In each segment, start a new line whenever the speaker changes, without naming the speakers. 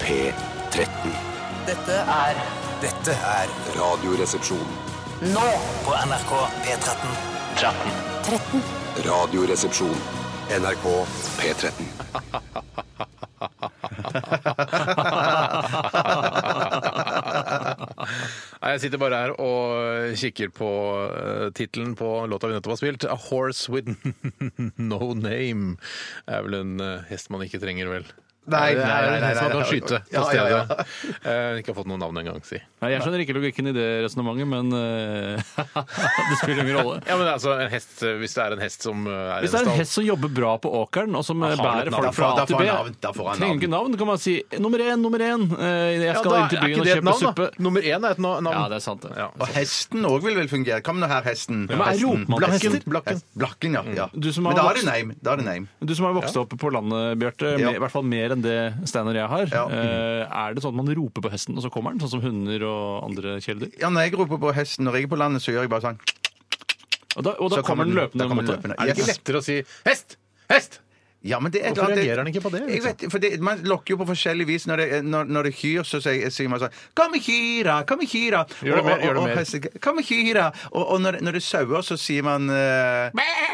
P13.
Dette er
Dette er
Radioresepsjon.
nå
på NRK P13.
Radioresepsjon. NRK P13.
Nei, jeg sitter bare her og kikker på uh, tittelen på låta vi nettopp har spilt. A Horse With No Name. Det er vel en eh, hest man ikke trenger, vel?
Nei,
det
nei,
er Sånn
nei,
en
nei,
hest man kan
nei, nei.
skyte på
Ja, ja,
stedet.
ja.
Eh, ikke har fått noe navn engang, si.
Nei, jeg skjønner ikke logikken i det resonnementet, men eh, det spiller ingen rolle.
Ja, men altså, en hest, eh, Hvis det er en hest som eh, er
Hvis det er en hest som jobber bra på åkeren, og som eh,
har han et
bærer
navn?
folk
Da
fra A til
får
B
han navn, da får han
Trenger
navn.
ikke navn, kan man si 'nummer én, nummer én'. eh, Jeg skal inn til byen og kjøpe suppe.
Nummer én er et na- navn.
Ja, det er sant. det.
Ja.
Og hesten òg vil vel fungere. Kom nå her, hesten.
men er
Hesten.
Ropmann
Blakken.
hester?
Blakken. Blakken,
Mm.
ja. ja.
Du som har
Men da er det
vokst-
neim. Da er det neim.
Du som har vokst opp på landet, Bjarte,
Ja.
med- i hvert fall mer enn det Stein og jeg har.
Ja.
eh, Er det sånn at man roper på hesten, og så kommer den? Sånn som hunder og andre kjæledyr?
Ja, når jeg roper på hesten når jeg er på landet, så gjør jeg bare sånn.
Og da, og da
Så
kommer den løpende.
da kommer den
mot deg.
løpende.
Er det ikke
Yes.
lettere å si 'hest'? Hest!
Ja, men det er et
Hvorfor
eller annet-
reagerer han ikke på det, liksom?
Jeg vet, for det, man lokker jo på forskjellig vis. Når det, når, når det er kyr, så sier, sier man sånn Kom med kyra! Kom med kyra!
Gjør det mer, gjør det
Og- og-
mer.
og hesten, Kom med kyra! Og, og når, det- når det er sauer, så sier man eh,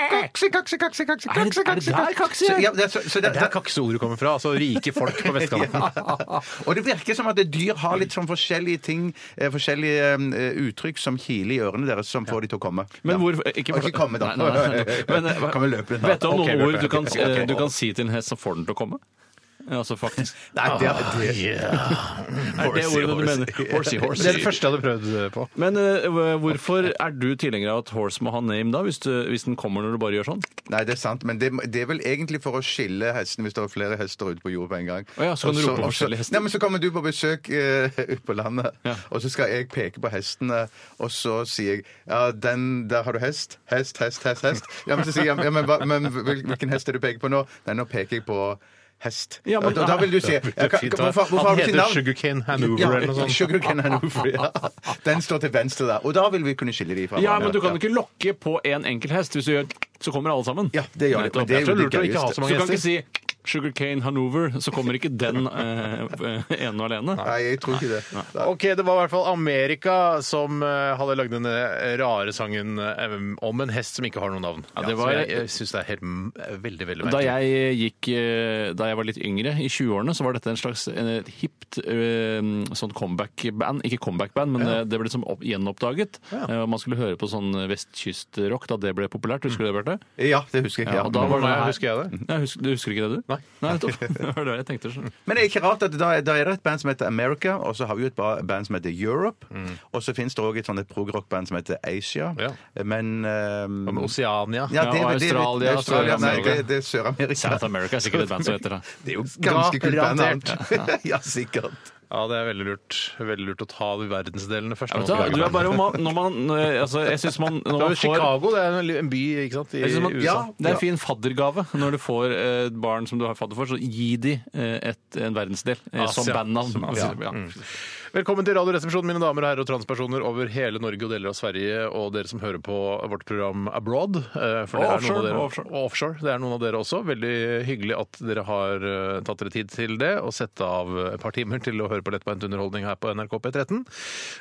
Kakse, kakse, kakse, kakse, kakse,
Er det- er det
kakse,
der kakse?
Så- ja, det er så- så det-
Det er kakseordet kommer fra. Altså rike folk på vestkanten.
Og det virker som at dyr har litt sånn forskjellige ting, eh, forskjellige eh, uttrykk som kiler i ørene deres, som får de til å komme.
Men
Ja.
hvor Ikke,
Og ikke komme, da.
Nei, nei, nei. Men, eh,
Kan vi løpe?
Vet du om
Ok,
noen
Bjarte.
ord du kan,
Ok, ok.
eh, du kan si til en hest som får den til å komme? Ja, Altså faktisk.
Nei, det, er- det,
Er det ordet du mener? Horsey, horsey.
Det er det første jeg hadde prøvd eh, på.
Men eh, hvorfor er du tilhenger av at horse må ha name da, hvis, du, hvis den kommer når du bare gjør sånn?
Nei, det er sant, men det, det er vel egentlig for å skille hestene hvis det er flere hester ute på jordet på en gang.
Å ja, så kan du
Og
rope på
og så-
forskjellige hester.
Nei, men så kommer du på besøk eh, ute på landet,
Ja.
og så skal jeg peke på hestene, og så sier jeg ja, den, der har du hest. Hest, hest, hest, hest. Ja, men så sier jeg ja, men, hva, men hvil- hvilken hest er det du peker på nå? Nei, nå peker jeg på hest.
Ja, men-
og da, da vil du si ja,
Det er
hva-
fint, da.
hvorfor, hvorfor
Han
har du ikke
heter
navn?
Sugarcane Hanover eller noe sånt.
Sugar Cane Hanover, ja. Den står til venstre der. Og da vil vi kunne skille de fra
Ja, men du kan ikke lokke på en enkel hest. Hvis du gjør så kommer alle sammen.
Ja, det gjør de.
Nettopp.
Men det er
Jeg
jo
tror
det
lurt å ikke ha
gøyeste.
så mange hester. Du kan ikke si Sugarcane Hanover, så kommer ikke den eh, ene og alene.
Nei, jeg tror ikke det. Nei.
Ok, det var i hvert fall Amerika som eh, hadde lagd denne rare sangen eh, om en hest som ikke har noe navn.
Ja, det var-
så jeg jeg syns det er helt, m- veldig, veldig
Da
merkelig.
jeg, gikk, eh, da jeg var litt yngre, i 20-årene, så var dette en slags eh, hipt eh, sånn comeback-band. Ikke comeback-band, men eh, det ble liksom opp, gjenoppdaget. Eh, og Man skulle høre på sånn vestkystrock da det ble populært. Husker du det, Bjarte?
Ja, det husker jeg.
Ja,
Ja,
og da var det
Nei,
her.
husker jeg det?
Nei, husk, du husker ikke det, du?
Nei.
nettopp. Det var det jeg tenkte. Sånn.
Men det er ikke rart at da, da er det et band som heter America, og så har vi jo et ba- band som heter Europe. Og så finnes det òg et sånt et prog-rock-band som heter Asia.
Ja.
Men ehm,
Om Oceania.
ja,
Ja,
det,
og Australia,
det, Australia Nei,
Sør-Amerika.
det, det er Sør-Amerika.
South America er sikkert et band som heter det.
Det er jo ganske kult band.
Garantert.
navn. ja, sikkert.
Ja, det er veldig lurt, veldig lurt å ta de verdensdelene først.
Vet du, hva, du er bare om man, når man eh, altså, Jeg syns man
det
når
var
man
jo
får
Chicago, det er en, en by ikke sant, i
jeg synes man,
USA.
ja, Det er en fin faddergave. Når du får eh, et barn som du har fadder for, så gi de eh, et, en verdensdel eh, som
Asia.
bandnavn.
Som
Ja.
Asia. Mm.
Ja.
Velkommen til Radioresepsjonen, mine damer og herrer og transpersoner over hele Norge og deler av Sverige, og dere som hører på vårt program Abroad. eh, For
Og
det er
offshore,
noen av dere,
og offshore.
og offshore. Det er noen av dere også. Veldig hyggelig at dere har eh, tatt dere tid til det, og sett av et par timer til å høre på lettbeint underholdning her på NRK P13.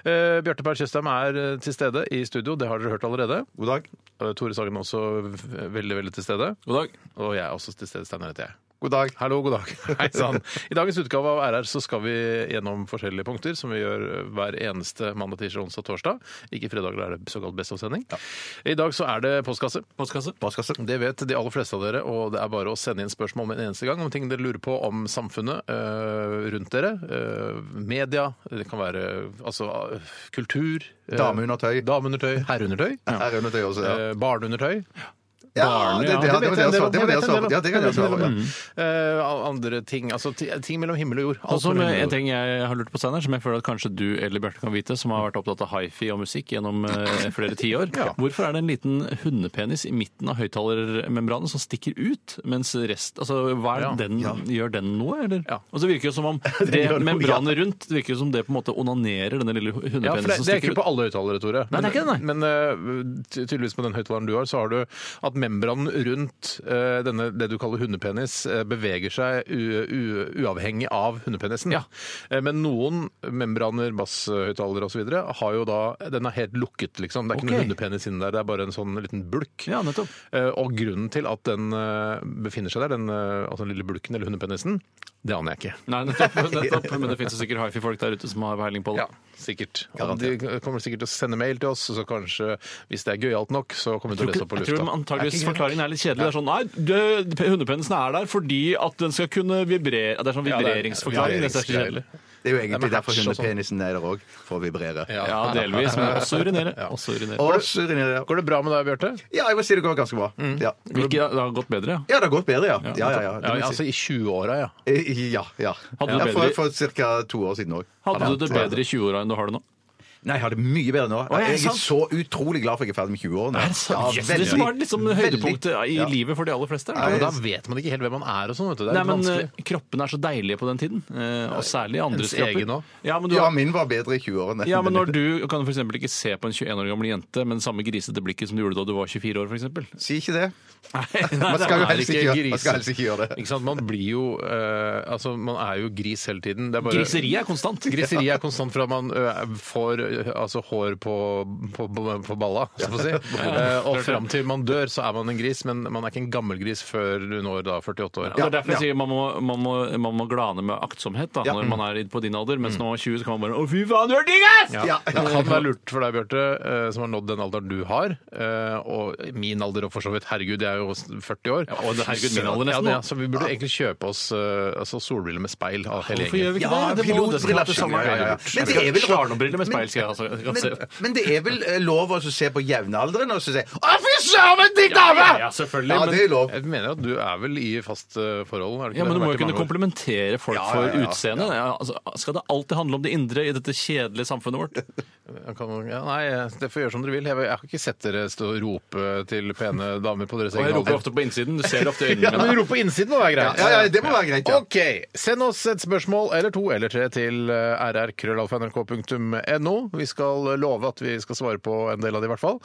Eh, Bjarte Per Tjøstheim er eh, til stede i studio, det har dere hørt allerede.
God dag.
Eh, Tore Sagen er også v- veldig, veldig til stede.
God dag.
Og jeg er også til stede, Steinar heter jeg.
God dag.
Hallo, god dag. Hei sann. I dagens utgave av RR så skal vi gjennom forskjellige punkter, som vi gjør hver eneste mandag, tirsdag, onsdag, torsdag. Ikke fredager, da er det såkalt best av-sending. I dag så er det postkasse.
Postkasse.
Postkasse.
Det vet de aller fleste av dere, og det er bare å sende inn spørsmål med en eneste gang om ting dere lurer på om samfunnet øh, rundt dere. øh, media, det kan være altså øh, kultur. øh,
Dameundertøy.
Dameundertøy. Herreundertøy.
Her under det også, ja.
øh, barneundertøy.
Ja, det, det, det, det, var det, jeg sa. det, var det, jeg sa. ja, det kan jeg svare på. Ja.
Eh, andre ting. Altså ti- ting mellom himmel og jord. Alt
Og som
mellom himmel
eh, En
og jord.
ting jeg har lurt på, Steinar, som jeg føler at kanskje du eller Bjarte kan vite, som har vært opptatt av hifi og musikk gjennom eh, flere tiår. Hvorfor er det en liten hundepenis i midten av høyttalermembranet som stikker ut, mens rest altså, hva er
Ja.
den, Gjør den noe, eller?
Ja.
Og så virker det som om det
gjør noe,
membranet rundt det virker jo som det på en måte onanerer denne lille hundepenisen
Ja, for det,
som
det er
stikker
ikke
ut.
på alle høyttalere, Tore.
Nei, det er ikke det, nei.
Men eh, ty- tydeligvis på den høyttaleren du har, så har du at membranen rundt eh, denne, det du kaller hundepenis, eh, beveger seg u, u, uavhengig av hundepenisen. Eh, men noen membraner, basshøyttalere osv., har jo da Den er helt lukket, liksom. Det er ikke noen
Ok.
hundepenis inni der, det er bare en sånn liten bulk.
Ja, nettopp.
Eh, og grunnen til at den eh, befinner seg der, den, eh, altså den lille bulken eller hundepenisen, det aner jeg ikke.
Nei, nettopp, nettopp. Men det fins sikkert hifi-folk der ute som har peiling på det.
Ja, sikkert. Og de kommer sikkert til å sende mail til oss, så kanskje, hvis det er gøyalt nok, så kommer vi til å
Jeg
lese
tror,
opp på
ikke- jeg
lufta.
tror antageligvis forklaringen er litt kjedelig. Det er sånn, nei, det, Hundepennisen er der fordi at den skal kunne vibrere. Det er sånn
Ja, det er-
vibreringsforklaring. det er så kjedelig.
Det er jo
Ja, men
egentlig derfor
hatch og sånn.
hundepenisen er der òg, for å vibrere.
Ja, delvis, men også urinere. Også urinere.
Og så urinerer jeg.
Går det bra med deg, Bjarte?
Ja, jeg må si det går ganske bra. Ja,
Hvilket det har gått bedre, ja.
ja det har gått bedre, ja. Ja, ja, ja.
Ja,
Det må jeg si.
altså i 20-åra, ja.
Eh, ja, ja.
Hadde du
ja for,
bedre-
for ca. to år siden òg.
Hadde du det bedre i 20-åra enn du har det nå?
Nei, jeg har det mye bedre nå.
er det
Jeg er så
sant?
utrolig glad for at jeg er ferdig med 20-årene.
Er det sant? Yes, det som var liksom høydepunktet i livet for de aller fleste.
Ja,
er
men
det
Altså, Da
det?
vet man ikke helt hvem man er og sånn, vet du. Det er
Nei,
litt
men
vanskelig.
eh, Kroppene er så deilige på den tiden, eh, og særlig andres
Ens egen
kropper.
også.
Ja, men, du,
Ja, min var bedre i 20-årene.
ja, men når du kan f.eks. ikke se på en 21 år gammel jente med det samme grisete blikket som du gjorde da du var 24 år, f.eks.
Si ikke det.
Nei,
Man
det
skal jo
er
helst
ikke
ikke gjøre,
gris-
man skal helst ikke gjøre det.
Ikke sant? Man blir jo eh, Altså, man er jo gris hele tiden. Det er bare
Griseri er konstant.
Griseri er konstant fra man ø, får ø, altså, hår på, på, på balla, så å si. Eh, og fram til man dør, så er man en gris, men man er ikke en gammel gris før du når da 48 år.
Ja, det er derfor jeg sier man må, man, må, man må glane med aktsomhet da, når man er på din alder. Mens når man er 20, så kan man bare 'Å, fy faen, du er digg, ass!'
Ja. Det kan være lurt for deg, Bjarte, eh, som har nådd den alderen du har, eh, og min alder og for så vidt. Herregud, jeg er jo 40 år.
Ja, og det- herregud, min alder nesten,
Ja, det, er-
da.
så vi burde egentlig kjøpe oss eh, altså, solbriller med speil av hele
Hvorfor gjør
gjengen.
vi ikke
Ja,
det? Det må- det skal være
pilotbriller,
det samme.
ja, ja, ja. Men det er
Jeg
vel-
skal ha Slalåmbriller med
Men-
speil skal jeg ha. så jeg kan
Men,
se.
men det er vel eh, lov å se på jevnaldrende og så si 'Å, fy søren, digg dame!'
Ja, ja, selvfølgelig,
Ja,
men-
det er lov.
Jeg mener at du er vel i fast eh, forhold? Er det ikke
Ja,
det? Det har
men Du må jo
vært i
kunne
mange år.
komplementere folk
Ja, ja,
for
ja, ja.
utseendet. Ja, altså, skal det alltid handle om det indre i dette kjedelige samfunnet vårt?
Jeg kan, ja, nei, eh, det får gjøre som dere vil. Jeg, jeg har ikke sett dere stå og rope til pene damer på deres
Og jeg
egen
roper
alder.
ofte på innsiden. Du ser ofte i
Ja,
øynene
men
mine.
rop på innsiden må være greit.
Ja, ja, ja, det må være greit, ja.
Ok, Send oss et spørsmål eller to eller tre til eh, rrkrøllalfa.nrk.no. Vi skal love at vi skal svare på en del av det, i hvert fall.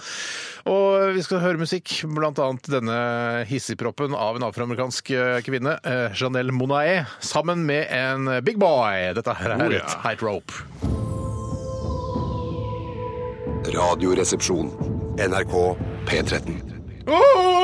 Og vi skal høre musikk, bl.a. denne hissigproppen av en afroamerikansk eh, kvinne, eh, Janelle Monae, sammen med en big boy. Dette her
Oh,
er
ja.
et tight rope.
Radioresepsjon. NRK P13.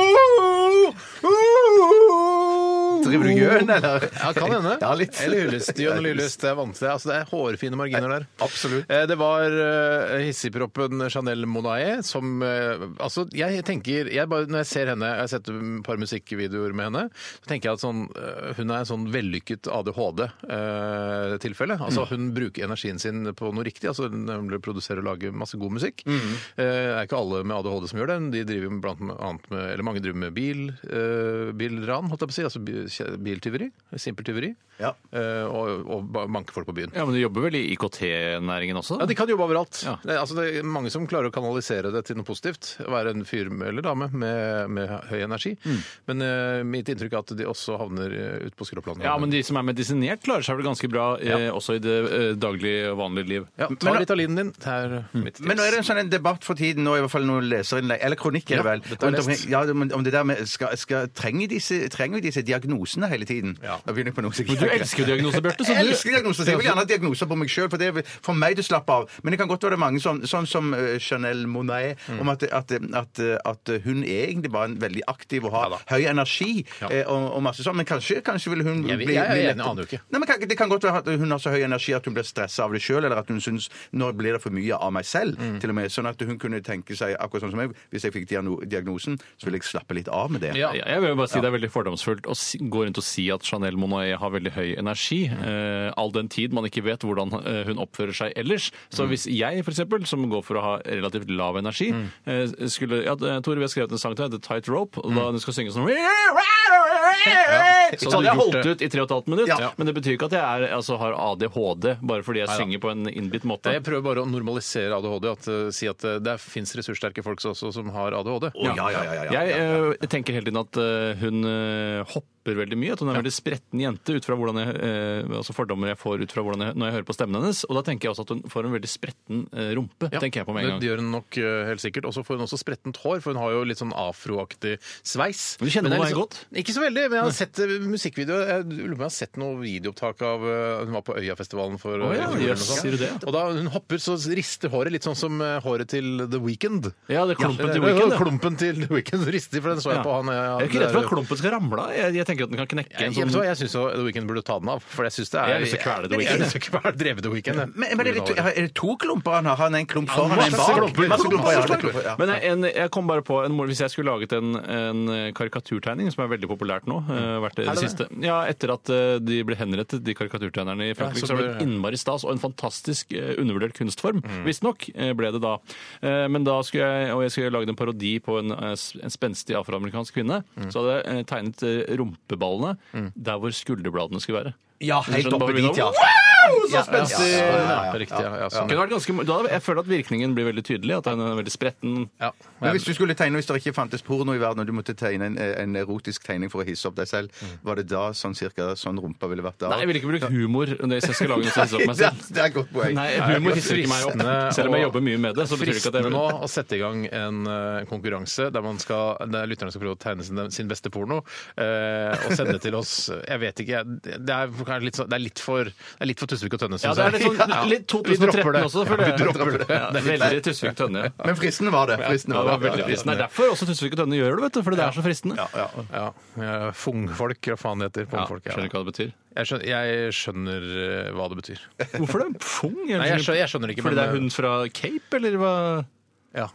Driver du gjøn, eller?
Ja, kan hende.
Ja, litt.
Eller hyllest. Jørn og Lillest. Det er vanskelig. Altså, det er hårfine marginer der.
Absolutt.
Eh, Det var uh, hissigproppen Chanel Monae som eh, Altså, jeg tenker jeg bare, Når jeg ser henne, jeg har sett et par musikkvideoer med henne, så tenker jeg at sånn, eh, hun er en sånn vellykket ADHD-tilfelle. altså, hun bruker energien sin på noe riktig. altså Hun produserer og lager masse god musikk. Eh, det er ikke alle med ADHD som gjør det. men De driver blant annet med, eller mange driver med bil, eh, bilran, holdt jeg på å si. Altså bi- biltyveri. Simpeltyveri.
Ja.
Eh, og, og ba- banke folk på byen.
Ja, men du jobber vel i IKT-næringen også?
Ja, De kan jobbe overalt.
Ja.
Det, er- altså, det er mange som klarer å kanalisere det til noe positivt. å Være en fyr med- eller dame med, med høy energi.
Mm.
Men eh, mitt inntrykk er at de også havner eh, ute på skråplanet.
Ja, men de som er medisinert, klarer seg vel ganske bra eh, også i det eh, daglige, vanlige liv.
Ja, ta Ritalinen din. Det er
Mm.
mitt tips.
Men nå er det en sånn en debatt for tiden, nå i hvert fall noen leserinnlegg, eller kronikk er det
Ja,
vel,
dette er
rundt
lest.
omkring, ja, men om det der med, skal, skal, trenger, disse, trenger vi disse diagnosene hele tiden?
Ja.
Nå begynner jeg på noe
Men
sikkert.
du elsker jo diagnoser, Bjarte. så
Jeg
du-
elsker diagnoser, så jeg vil gjerne ha diagnoser på meg sjøl, for det er for meg til å slappe av. Men det kan godt være det er mange sånn, sånn som eh, Chanel Monet,
Mm.
om at, at, at, at hun er egentlig bare en veldig aktiv og har
Ja da.
høy energi
Ja.
eh, og, og masse sånn, men kanskje, kanskje vil hun
Jeg vet-
bli
jeg er enig,
bli lett-
jeg aner jo ikke.
Nei, men kan, Det kan godt være at hun har så høy energi at hun blir stressa av det sjøl, eller at hun syns nå blir det for mye av meg selv,
Mm.
til og med. Sånn at hun kunne tenke seg, akkurat sånn som jeg, hvis jeg fikk diagno- diagnosen, så ville jeg slappe litt av med det.
Ja.
Ja, jeg vil jo bare si Det er veldig fordomsfullt å si- gå rundt og si at Chanel Monae har veldig høy energi, eh, all den tid man ikke vet hvordan eh, hun oppfører seg ellers. Så hvis jeg, for eksempel, som går for å ha relativt lav energi, eh, skulle ja, det- Tore, vi har skrevet en sang til deg, The Tight Rope, og da du skal synge sånn Så hadde jeg holdt ut i tre og et halvt minutt,
Ja.
men det betyr ikke at jeg er, altså, har ADHD bare fordi jeg synger på en innbitt måte.
Jeg prøver bare å normalisere ADHD. At, eh, si at eh, det fins ressurssterke folk også som har ADHD.
Å, ja, ja, ja, ja, ja.
Jeg eh, tenker hele tiden at eh, hun eh, hopper rapper veldig mye. At hun er en veldig spretten jente ut fra hvordan jeg, eh, altså fordommer jeg får ut fra hvordan jeg, når jeg hører på stemmen hennes. Og da tenker jeg også at hun får en veldig spretten eh, rumpe. tenker jeg på med en gang.
Det gjør hun nok eh, helt sikkert. Og så får hun også sprettent hår, for hun har jo litt sånn afroaktig sveis.
Men du kjenner
det er
henne
litt
godt?
sånn- Ikke så veldig, men jeg har sett eh, musikkvideo. Jeg lurer på om jeg har sett noe videoopptak av eh, Hun var på Øyafestivalen for
Å
eh,
ja,
i fjor eller
jøss,
noe sånt.
sier du det?
Og da hun hopper, så rister håret litt sånn som eh, håret til The Weeknd.
Ja, det er klumpen
Ja, det
til
er
Weeknd, ja.
Klumpen til The Weeknd rister, for den så jeg
Ja.
på han. eh,
Jeg er ikke redd for at
der-
klumpen skal ramle av. Jeg, jeg tenker at den kan knekke
Jeg,
en
jeg, vet
sånn
du hva, jeg syns The Weeknd burde ta den av. For jeg syns det er
Jeg har lyst til å kvele The
Jeg
Weeknd.
har lyst til å kvele- dreve The Weeknd. jeg.
Men, men er, det to, er det to klumper han har? Han er en klump
Ja,
foran og en
masse
bak?
klumper.
Masse klumper, ja, det er klumper, ja.
Men jeg, en, jeg kom bare på en, mor- Hvis jeg skulle laget en, en karikaturtegning, som er veldig populært nå eh, vært det,
Mm. Er
det
det
siste Ja, Etter at eh, de ble henrettet, de karikaturtegnerne i Frankrike,
Ja, så
så var
ble-
det innmari stas og en fantastisk eh, undervurdert kunstform.
Mm.
Visstnok eh, ble det da. Eh, Men da skulle jeg og jeg skulle lage en parodi på en, eh, s- en spenstig afroamerikansk kvinne.
Mm.
Så hadde jeg eh, tegnet eh, rumpeballene der hvor skulderbladene skulle være.
Ja, helt
Skjønner
oppe
bare
dit, ja.
hvordan-
Ja,
spenstig!
ja, ja, ja,
Ja,
ja.
Riktig. ja, ja, sånn,
Kunne vært ganske, mo- da, jeg føler at virkningen blir veldig tydelig. At den er veldig spretten.
ja.
Men hvis du skulle tegne, hvis det ikke fantes porno i verden, og du måtte tegne en, en erotisk tegning for å hisse opp deg selv, var det da sånn cirka sånn rumpa ville vært da?
Mm. Nei, jeg ville ikke brukt humor hvis jeg skal lage noe som hisser opp meg selv.
Det er et godt poeng.
Nei, humor hisser ikke meg opp.
Fristende
Selv om jeg
å-
jobber mye med det, så betyr det ikke at
fristende
jeg
nå å sette i gang en eh, konkurranse der, man skal, der lytterne skal prøve å tegne sin, sin beste porno eh, og sende til oss. Jeg vet ikke, jeg, det, er, kanskje litt, så- det er litt for, det er litt for Tusvik og Tønne.
Ja,
synes
det er litt
jeg.
sånn
Ja.
litt
Vi dropper
2013
det.
også,
Ja,
føler
vi
jeg.
dropper det.
Ja, veldig Tusvik Tønne. Ja,
Men fristende var det.
det
Fristende
var
var det.
veldig fristende. Det er derfor også Tusvik og Tønne gjør det, vet du. Fordi det er så fristende.
Ja, ja.
Ja, eh, Fungfolk, hva faen det heter.
Ja,
Fungfolk, ja.
skjønner ikke hva det betyr.
Jeg, skjønner, jeg skjønner eh, hva det betyr.
Hvorfor det? Pfung?
Nei, jeg skjønner, jeg skjønner ikke,
Fordi det er
men,
hun fra Cape, eller hva?
ja.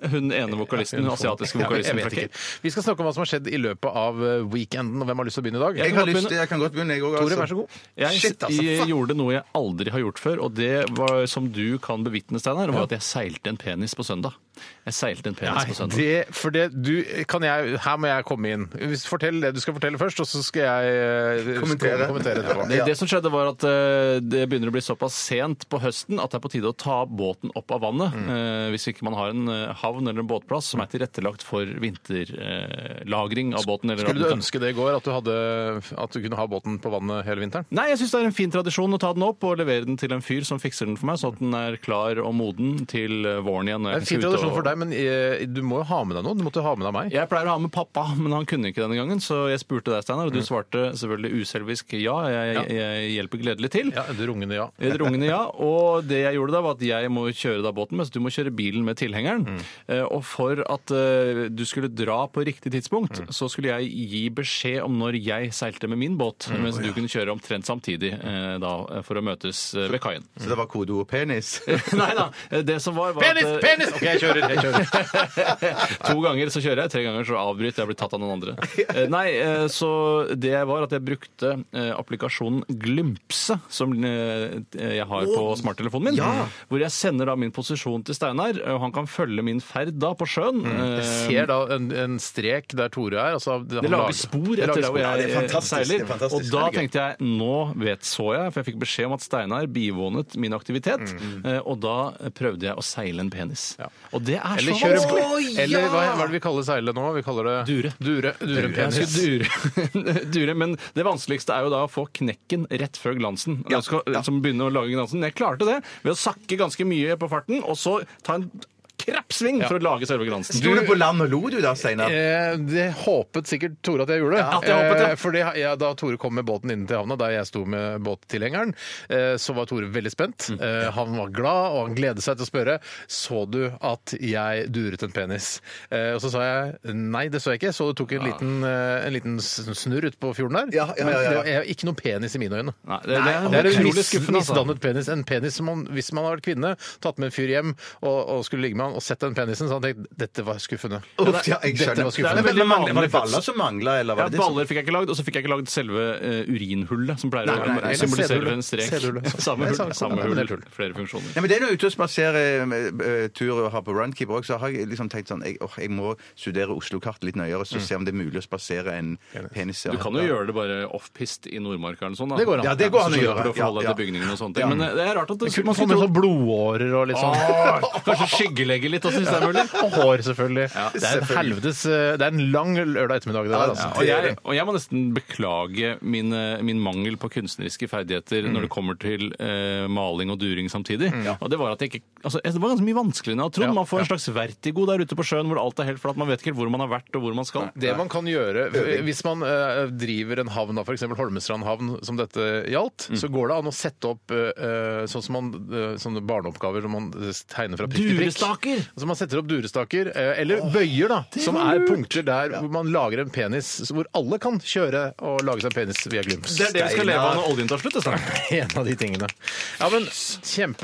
Hun ene vokalisten,
Ja,
hun
hun-
asiatiske
Ja, jeg
vokalisten
vet
fra
ikke.
Cape.
Vi skal snakke om hva som har skjedd i løpet av eh, weekenden, og hvem har lyst til å begynne i dag?
Jeg, har lyst, jeg kan godt begynne, jeg altså. òg.
Tore, vær så god.
Jeg,
Shit, altså,
jeg
fuck.
gjorde noe jeg aldri har gjort før, og det var, som du kan bevitne, Steinar, var at jeg seilte en penis på søndag. Jeg seilte en penis på
Nei,
søndag.
det, for det, du, kan jeg, her må jeg komme inn. Hvis- Fortell det du skal fortelle først, og så skal jeg eh,
Kommentere.
kommentere etterpå.
Det, det som skjedde var at eh, det begynner å bli såpass sent på høsten at det er på tide å ta båten opp av vannet.
Mm.
eh, hvis ikke man har en eh, havn eller en båtplass som er tilrettelagt for vinterlagring av båten. Eller
Skulle
at
du
den kan-
ønske det i går, at du, hadde, at du kunne ha båten på vannet hele vinteren?
Nei, jeg syns det er en fin tradisjon å ta den opp og levere den til en fyr som fikser den for meg, sånn at den er klar og moden til eh, våren igjen. når
Det er
jeg
en
skal
fin
ut og-
tradisjon for deg, men eh, du må jo ha med deg noen. Du måtte jo ha med deg meg.
Jeg pleier å ha med pappa, men han kunne ikke denne gangen, så jeg spurte deg, Steinar, og
Mm.
du svarte selvfølgelig uselvisk ja. Jeg, jeg, jeg hjelper gledelig til.
Ja, det rungende ja.
Et rungende ja, og det jeg gjorde da var at jeg må kjøre da båten, mens du må kjøre bilen med tilhengeren. Eh, Og for at eh, du skulle dra på riktig tidspunkt, så skulle jeg gi beskjed om når jeg seilte med min båt, mens du kunne kjøre omtrent samtidig eh, da, eh, for å møtes eh, ved kaien.
Så det var kodeord penis?
Nei da, eh, det som var, var at,
Penis!
eh,
Penis! OK, jeg kjører. Jeg kjører.
To ganger så kjører jeg, tre ganger så avbryter jeg og blir tatt av noen andre. Eh, Nei, eh, så det var at jeg brukte eh, applikasjonen Glimpse, som eh, jeg har på smarttelefonen min, hvor jeg sender da min posisjon til Steinar, eh, og han kan følge min ferd da på sjøen.
Mm. Jeg
Eh,
ser da en, en strek der Tore er. Altså, han
det lager spor
Det lager
etter der
spor.
hvor jeg
det er
eh,
fantastisk, det
seiler.
er fantastisk.
Og da
Det er gøy.
tenkte jeg nå vet så jeg, for jeg fikk beskjed om at Steinar bivånet min aktivitet.
Mm.
eh, Og da prøvde jeg å seile en penis. Og det er
Eller
så
kjøre
vanskelig!
Eller hva, hva er det vi kaller seile nå? Vi kaller det
Dure.
Dure, dure,
Jeg
penis.
skulle dure, dure, men det vanskeligste er jo da å få knekken rett før glansen. Jeg skal, Som begynner å lage glansen. Jeg klarte det ved å sakke ganske mye på farten, og så ta en krappsving for å lage selve glansen.
Sto du på land og lo du da, Steinar?
Eh, det håpet sikkert Tore at jeg gjorde.
Ja, at jeg håpet, ja.
Eh, fordi ja, Da Tore kom med båten inn til havna, der jeg sto med båttilhengeren, eh, så var Tore veldig spent. Eh, han var glad, og han gledet seg til å spørre så du at jeg duret en penis. Eh, og så sa jeg nei, det så jeg ikke. Så du tok en liten, eh, en liten s- snurr ut på fjorden der.
Ja, ja, ja, ja.
Men det var eh, ikke noen penis i mine øyne.
Nei, det, det, er,
Det er en
utrolig
mis,
skuffende. Altså.
misdannet penis. En penis som man, hvis man har vært kvinne, tatt med en fyr hjem og, og skulle ligge med han og sett den penisen, så hadde han tenkt dette var skuffende.
Uff, ja, jeg
Dette
skjønner.
var skuffende.
Men- men- men-
Det er veldig
Var det baller som mangla, eller
Ja,
var det det? som-
baller fikk jeg ikke lagd, og så fikk jeg ikke lagd selve eh, urinhullet, som pleier
Nei, nei, nei,
å symbolisere
sædhullet.
en strek.
Sædhullet.
sånn.
Samme
Nei,
hull,
samme-
samme
ja, men det
hull,
er hull.
flere funksjoner.
Nei, men det er noe ute og spaserer eh, eh, tur og har på Roundkeeper også, så har jeg liksom tenkt sånn jeg, åh, jeg må studere Oslo-kartet litt nøyere, så se om det er mulig å spasere en penis.
Du kan jo gjøre det bare off-pist i Nordmarka eller sånn. da.
Det går an.
Ja, det går an å
Så
gjøre.
slipper du å forholde
Ja,
deg til
ja.
bygningene og sånne ting. Men eh, det er rart at det,
Ah.
Man får med sånn blodårer og litt sånn.
Åh, Kanskje skyggelegge farge litt også, hvis det er mulig.
Og hår, selvfølgelig. det er en
selvfølgelig.
helvetes eh, Det er en lang lørdag ettermiddag. Det
Ja,
der, altså.
Og jeg, og jeg må nesten beklage min, eh, min mangel på kunstneriske ferdigheter når det kommer til eh, maling og during samtidig. Og Det var at jeg ikke, altså, det var ganske mye vanskeligere enn jeg hadde trodd.
Ja,
Man får
ja.
en slags vertigo der ute på sjøen hvor alt er helt flatt. Man vet ikke helt hvor man har vært og hvor man skal.
Det man kan gjøre eh, hvis man eh, driver en havn, da, f.eks. Holmestrand havn, som dette gjaldt,
Mm.
så går det an å sette opp eh, sånn som man, eh, sånne barneoppgaver som man eh, tegner fra prikk til prikk.
Durestaker!
Altså man setter opp durestaker, eh, eller bøyer, da, som er punkter der hvor man lager en penis, så hvor alle kan kjøre og lage seg en penis via glimps.
Det er det vi skal leve av når oljen tar slutt. det er snart.
en av de tingene. Ja, men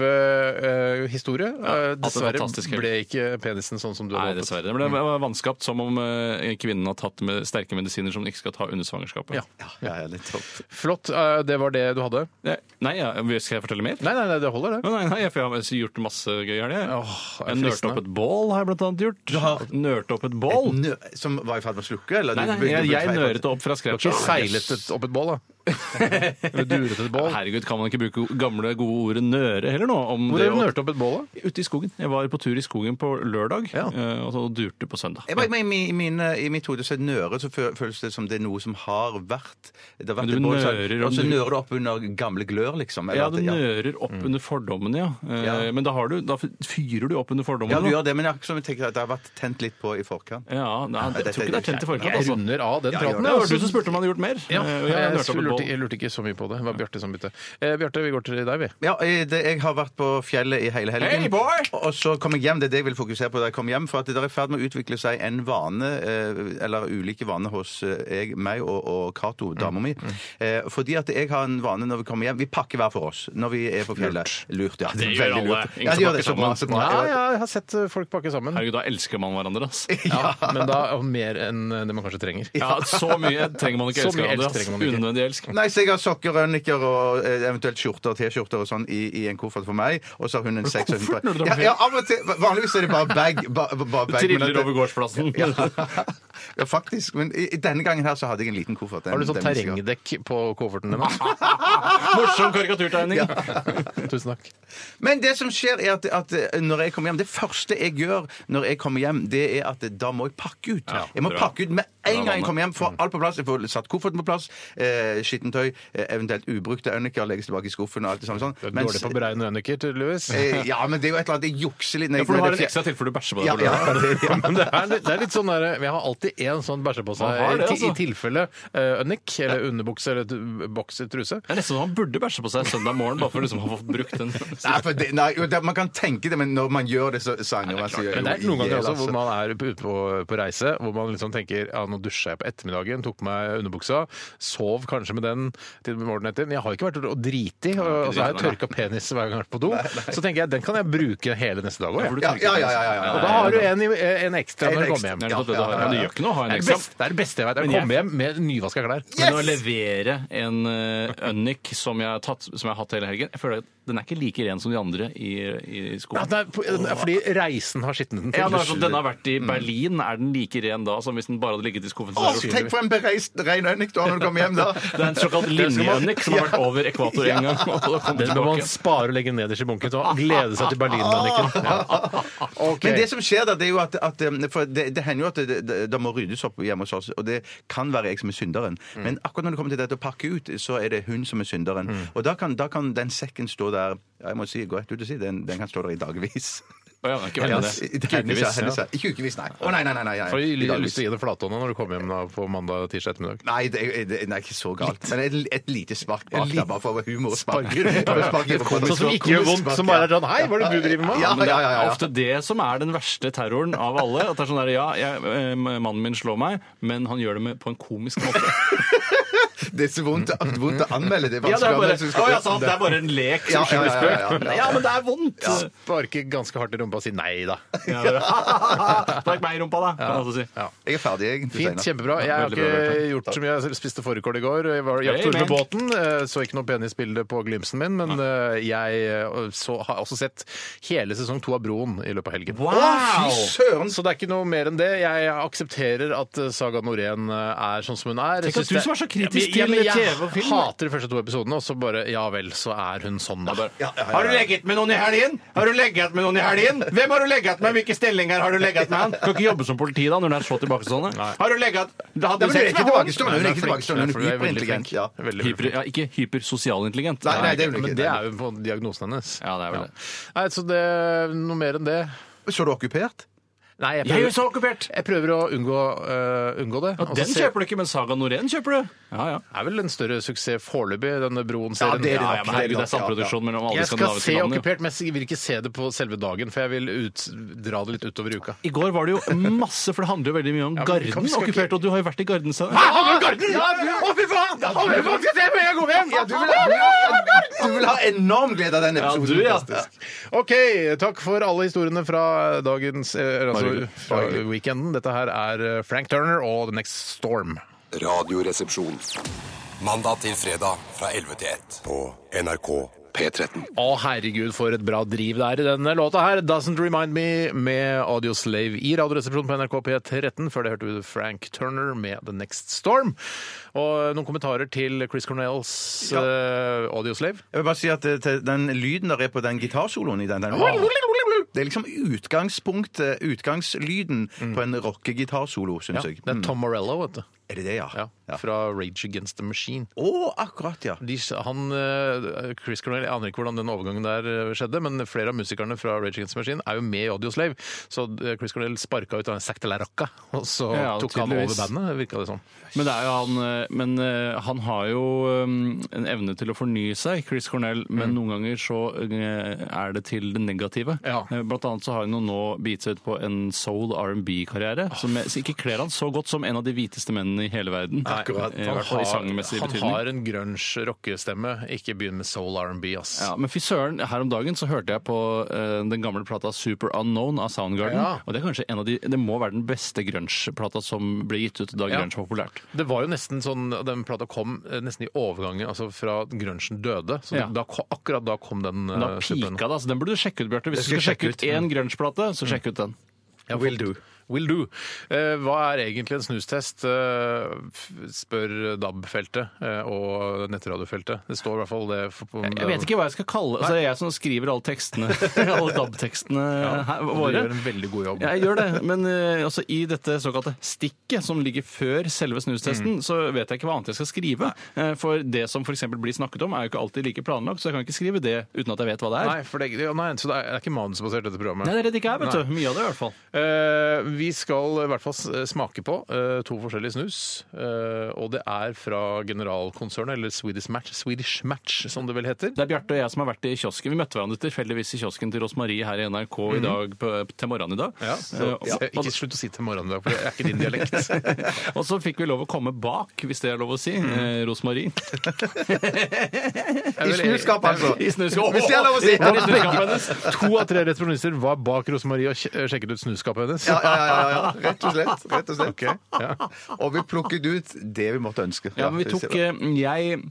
Kjempehistorie. Eh, dessverre
fantastisk helg.
ble ikke penisen sånn som du
Nei,
hadde håpet.
dessverre. Men det var vanskapt, som om eh, kvinnen har tatt med sterke medisiner som den ikke skal ta under svangerskapet.
Ja.
Ja, ja, litt sånn.
Flott. eh, det var det du hadde?
Det- Nei, ja, skal jeg fortelle mer?
Nei, nei, nei det holder, det.
Nei, nei, jeg har gjort masse gøy her. Jeg,
Åh, det er
jeg nørte
fristende.
opp et bål, har jeg blant annet gjort. Du har nørt opp et bål?
Nø som var i ferd med å slukke? Eller?
Nei,
Du-
nei, jeg,
du-
jeg nøret det opp fra
Du har ikke
scratch.
seilet et, opp et bål, da? Eller duret et bål?
Herregud, kan man ikke bruke gamle, gode ordet nøre heller nå? Om
Hvor har du
å-
nørt opp et bål, da?
Ute i skogen. Jeg var på tur i skogen på lørdag,
Ja.
eh, og så durte på søndag.
Jeg bare, men i, min- i mine- I mitt hode så nøre så fø- føles det som det er noe som har vært. Det har vært
Men du
et bål, så-
nører om
Og så
du-
nører du opp under gamle glør, liksom. eller
Ja,
at
du
det-
nører opp under fordommene, ja. Eh,
Ja.
Men da, har du, da fyrer du opp under fordommene.
ja, du
da.
gjør det, men jeg, har ikke- som jeg tenker at det har vært tent litt på i forkant.
Ja, nei, jeg
dette
tror ikke det er tent i forkant,
Jeg
altså.
runder av den
Ja, gjør
praten.
Det
jeg,
var du
altså.
som spurte om jeg hadde gjort mer.
Ja,
Eh, og jeg
jeg,
nørte opp et
lurte,
bål.
jeg lurte ikke så mye på det. Det var Bjarte som bytte. Eh, Bjarte, vi går til deg, vi.
Ja, eh, det, jeg har vært på fjellet i hele helgen.
Hey, boy!
Og så kom jeg hjem. Det er det jeg vil fokusere på da jeg kom hjem. For at det er i ferd med å utvikle seg en vane, eh, eller ulike vaner hos eh, jeg, meg og, og Cato,
Mm,
dama mi. Eh, Fordi at jeg har en vane når vi kommer hjem Vi pakker hver for oss når vi er på fjellet. Lurt. ja.
Det
er
gjør
veldig
alle.
lurt.
Ingen
Ja,
som
de gjør det
pakker
så bra. Så
sammen.
bra.
Ja,
Jeg-
ja, jeg har sett eh, folk pakke sammen.
Herregud, da elsker man hverandre, ass.
Ja, men da mer enn eh, det man kanskje trenger.
Ja, så mye trenger man ikke
Så
elske
mye
hverandre.
elsk
ass.
trenger man ikke.
Unødvendig elsk.
Nei, så jeg har sokker, rønniker og eh, eventuelt skjorter og T-skjorter og sånn i, i en koffert for meg, og så har hun en seks og hun
koffert når du drar på
ja,
ferie?
ja, av og til. Vanligvis er det bare bag. Ba, ba, ba- bag men
Triller
at-
over gårdsplassen.
ja, faktisk. Men i, i denne gangen her så hadde jeg en liten koffert.
Har du sånn
Den- den-
terrengdekk på kofferten din?
Morsom karikaturtegning.
Tusen takk.
Men det som skjer, er at, at når jeg kommer hjem Det første jeg gjør når jeg kommer hjem, det er at eh, da må jeg pakke ut.
Ja,
jeg må
bra.
pakke ut med en gang
vanlig.
jeg kommer hjem. Få alt på plass. Jeg får satt kofferten på plass. Eh, Skittentøy, eh, eventuelt ubrukte øyniker legges tilbake i skuffen og alt det samme sånn.
Du er
Mens-
dårlig på å beregne nøynikker, tydeligvis.
Eh, ja, men det er jo et eller annet Jeg jukser litt. når
Ja,
jeg-
for du
når
har
det
en
fjer-
ekstra til for du bæsjer på
Ja,
deg. på lørdag.
ja, det, ja.
Men det er litt, det er litt sånn der, Jeg har alltid én sånn bæsjepose
Man har det, altså.
i tilfelle uh, ønik, eller underbukse eller t- bokser truse.
Det er nesten så han burde bæsje på seg søndag morgen, bare for liksom å ha fått brukt den.
Nei, for det, nei, jo, det, man kan tenke det, men når man gjør det, så sanger man seg
Men det er noen ganger også
altså.
hvor man er ute på, på reise, hvor man liksom tenker ja, nå dusja jeg på ettermiddagen, tok på meg underbuksa, sov kanskje med den til morgenen etter. Men jeg har jo ikke vært ute og driti, og og så har jeg tørka penis hver gang jeg har vært på do. Så tenker jeg den kan jeg bruke hele neste dag òg.
ja, ja, ja, ja, ja, ja.
Og da har du en, i- eh, en ekstra
En
når du
ekstra.
kommer hjem.
Det er nettopp det du har. Men det gjør ikke noe å ha en
Det er det
ekstra.
beste, det er det beste jeg vet.
Men
Jeg
jeg-
kommer hjem med nyvaska klær.
Men å levere en eh, ønnik som jeg, har tatt, som jeg har hatt hele helgen Jeg føler at Den er ikke like ren som de andre i, i
Ja,
skolen.
det er, det er fordi reisen har skitnet den til.
Ja, det er sånn, Den har vært i Berlin. Er den like ren da som hvis den bare hadde ligget i skuffen?
Åh, tenk for en bereist rein øynik du har når du kommer hjem da!
Det er en såkalt linjeønnik som har vært over ekvator en gang. og da kom
Den bør man
tilbake.
spare og legge nederst i bunken og glede seg til Berlin. Anniken. Ok.
Men det som skjer da, det er jo at, at um, For det, det hender jo at det, det, det må ryddes opp hjemme hos oss, og det kan være jeg som er synderen. Men akkurat når det kommer til dette å pakke ut, så er det hun som er synderen. Og da kan, da kan den sekken stå der ja, Jeg må si, gå rett ut og si den, den kan stå der i dagevis.
Å ja, det er ikke verre enn det.
I dagevis, ja, hennes, ja. Ikke ukevis, nei. Å, nei, nei, nei, nei, nei.
Får
I
du
dagevis.
lyst til å gi det flatånda når du kommer hjem da på mandag tirsdag ettermiddag?
Nei, det, er- det er ikke så galt. Men et, et lite spark bak, da, bare for humor og spark.
Sparker.
Bare spark.
Sånn som ikke gjør vondt, som bare er sånn Hei, hva er det du driver med?
Ja,
Men det
ja, ja, ja.
er ofte det som er den verste terroren av alle. At det er sånn der, ja, jeg, eh, Mannen min slår meg, men han gjør det med, på en komisk måte.
Det er så vondt, vondt å anmelde. Det er
Ja, det,
vanskelig å
er bare,
anmelde, så du
Å,
skal-
ja, sant, det er bare en lek
Ja,
som skyldes
ja,
spøk.
ja,
Ja,
ja, ja, ja.
men det er vondt! Ja.
Sparke ganske hardt i rumpa og si nei da.
det- Spark meg i rumpa, da, kan jeg også si.
Jeg er ferdig, jeg. til
Fint,
senere.
kjempebra. Jeg har
veldig bra,
ikke gjort så mye. Jeg spiste fårikål i går. Jeg var
Hey,
jakttur med
man.
båten. eh, Så ikke noe penisbilde på glimsen min, men eh, jeg eh, så, har også sett hele sesong to av Broen i løpet av helgen.
Å, fy søren!
Så det er ikke noe mer enn det. Jeg aksepterer at eh, Saga Norén eh, er sånn som hun er.
Tenk at du som er så kritisk
til til
men jeg
TV og
hater
film. Hater de første to episodene, og så bare Ja vel, så er hun sånn, da.
Har du legget med noen i helgen? Har du legget med noen i helgen? Hvem har du legget med? Hvilke stillinger har du legget med han?
Kan ikke jobbe som politi da, når hun er så tilbakestående.
Har du legget
Ja,
Hadde
men
du
Hun er
sex
ikke
med han?
tilbakestående. Hun er ikke tilbakestående. Hun
Hun
er
er veldig flink.
hyperintelligent. Ja.
Veldig,
Hyper, ja, ikke hypersosial intelligent.
Nei, nei, det er hun
Men
ikke.
det er jo på diagnosen hennes.
Ja, det er vel det.
Nei, så det Noe mer enn det
Så du okkupert?
Nei, jeg
Jeg er jo
prøver,
så okkupert!
jeg prøver å unngå, eh, unngå det.
Ja,
Og så
den
se-
kjøper du ikke, men Saga Norén kjøper du. Ja, ja.
er vel en større suksess foreløpig, denne Broen-serien.
det er det
ja,
nok,
ja men
det
herregud,
er
det
nok,
er samproduksjon mellom alle de
Jeg skal se
skandinaviske landene.
Okkupert, men jeg vil ikke se det på selve dagen, for jeg vil ut, dra det litt utover uka.
I går var det jo masse, for det handler jo veldig mye
Ja,
om
men vi kan-
Garden
vi skal
okkupert, og du har jo vært i Garden. Sa.
Å, fy faen! Å, fy faen, skal jeg se med en god venn! Ja, du, vil ha, du vil ha enorm glede av den episoden.
du, ja.
Fantastisk.
OK, takk for alle historiene fra dagens eh, Altså fra weekenden. Dette her er eh, Frank Turner og The Next Storm.
Radioresepsjon
Mandag til fredag fra 11 til 1.
på NRK P13.
Å, herregud, for et bra driv det er i denne låta her. Doesn't Remind Me med Audio Slave i Radioresepsjonen på NRK P13. Før det hørte vi Frank Turner med The Next Storm. Og noen kommentarer til Chris Cornells eh, Audio Slave.
Jeg vil bare si at eh, til den lyden der er på den gitarsoloen i den, den Det er liksom utgangspunktet, utgangslyden på en rockegitarsolo,
Ja,
syns jeg. Mm.
det er Tom Morello, vet du.
Er det det, ja?
Ja,
Mm. Ja.
Fra Rage Against the Machine.
Å, akkurat, ja.
De, han, eh, Chris Cornell, Jeg aner ikke hvordan den overgangen der eh, skjedde, men flere av musikerne fra Rage Against the Machine er jo med i Audioslave. Så eh, Chris Cornell sparka ut av Zack de la Rocca, og så
Ja,
tok han over
tydeligvis.
bandet, virka det som.
Men, det er jo han, eh, men eh, han har jo um, en evne til å fornye seg, Chris Cornell, men noen ganger så eh, er det til det negative.
Ja.
Eh, Blant annet så har han jo nå begitt seg ut på en soul R&B-karriere, som jeg- som ikke kler han så godt som en av de hviteste mennene i hele verden. Eh, I
Han
hvert fall i sangmessig
har, han
betydning.
har en grunge rockestemme. Ikke begynn med soul R&B, ass.
Ja, men fy søren, her om dagen så hørte jeg på eh, den gamle plata Super Unknown av Soundgarden.
Ja.
Og det er kanskje en av de Det må være den beste grunge-plata som ble gitt ut da
Ja.
grunge var populært.
Det var jo nesten sånn, Den plata kom eh, nesten i overgangen altså fra at grunchen døde. så
Ja.
da, ko- Akkurat da kom den.
Da
eh,
pika
superen.
det, altså. Den burde du sjekke ut, Bjarte. Hvis du
Jeg
skal
skal
sjekke
sjekke
ut én grunge-plate, så sjekk ut den.
Jeg har fått- Will do. Eh, hva er egentlig en snustest, eh, f- spør DAB-feltet eh, og nettradiofeltet. Det står i hvert fall det. For, på,
Jeg vet ikke hva jeg skal kalle Altså, det er jeg som skriver alle tekstene. alle DAB-tekstene her-
Du
våre.
gjør en veldig god jobb.
Jeg gjør det, men eh, altså, i dette såkalte stikket som ligger før selve snustesten, så vet jeg ikke hva annet jeg skal skrive. Eh, For det som f.eks. blir snakket om, er jo ikke alltid like planlagt, så jeg kan ikke skrive det uten at jeg vet hva det er.
Nei, for det, ja, nei, så det er, det er ikke manusbasert, dette programmet.
Nei, det er det det ikke er, vet du. Mye av det, i hvert fall.
Eh, vi skal i hvert fall s- smake på eh, to forskjellige snus. eh, og det er fra generalkonsernet, eller Swedish Match, Swedish Match som det vel heter.
Det er Bjarte og jeg som har vært i kiosken. Vi møtte hverandre tilfeldigvis i kiosken til Rosmarie her i NRK i dag, på, til morgenen i dag.
Ja, så,
Eh, og-
eh, Ikke slutt å si til morgenen, da, for det er ikke din dialekt.
Og så fikk vi lov å komme bak, hvis det er lov å si. Eh, Rosmarie.
I snuskapet, altså.
I snuskapet.
Hvis det er lov å si.
Det var i snuskapet hennes.
To av tre retronister var bak Rosemarie og kje- eh, sjekket ut snuskapet hennes.
Ja, ja, ja, ja, ja. Rett og slett. Rett og, slett. og vi plukket ut det vi måtte ønske.
Ja, men vi
det
tok
ser jeg.
eh, Jeg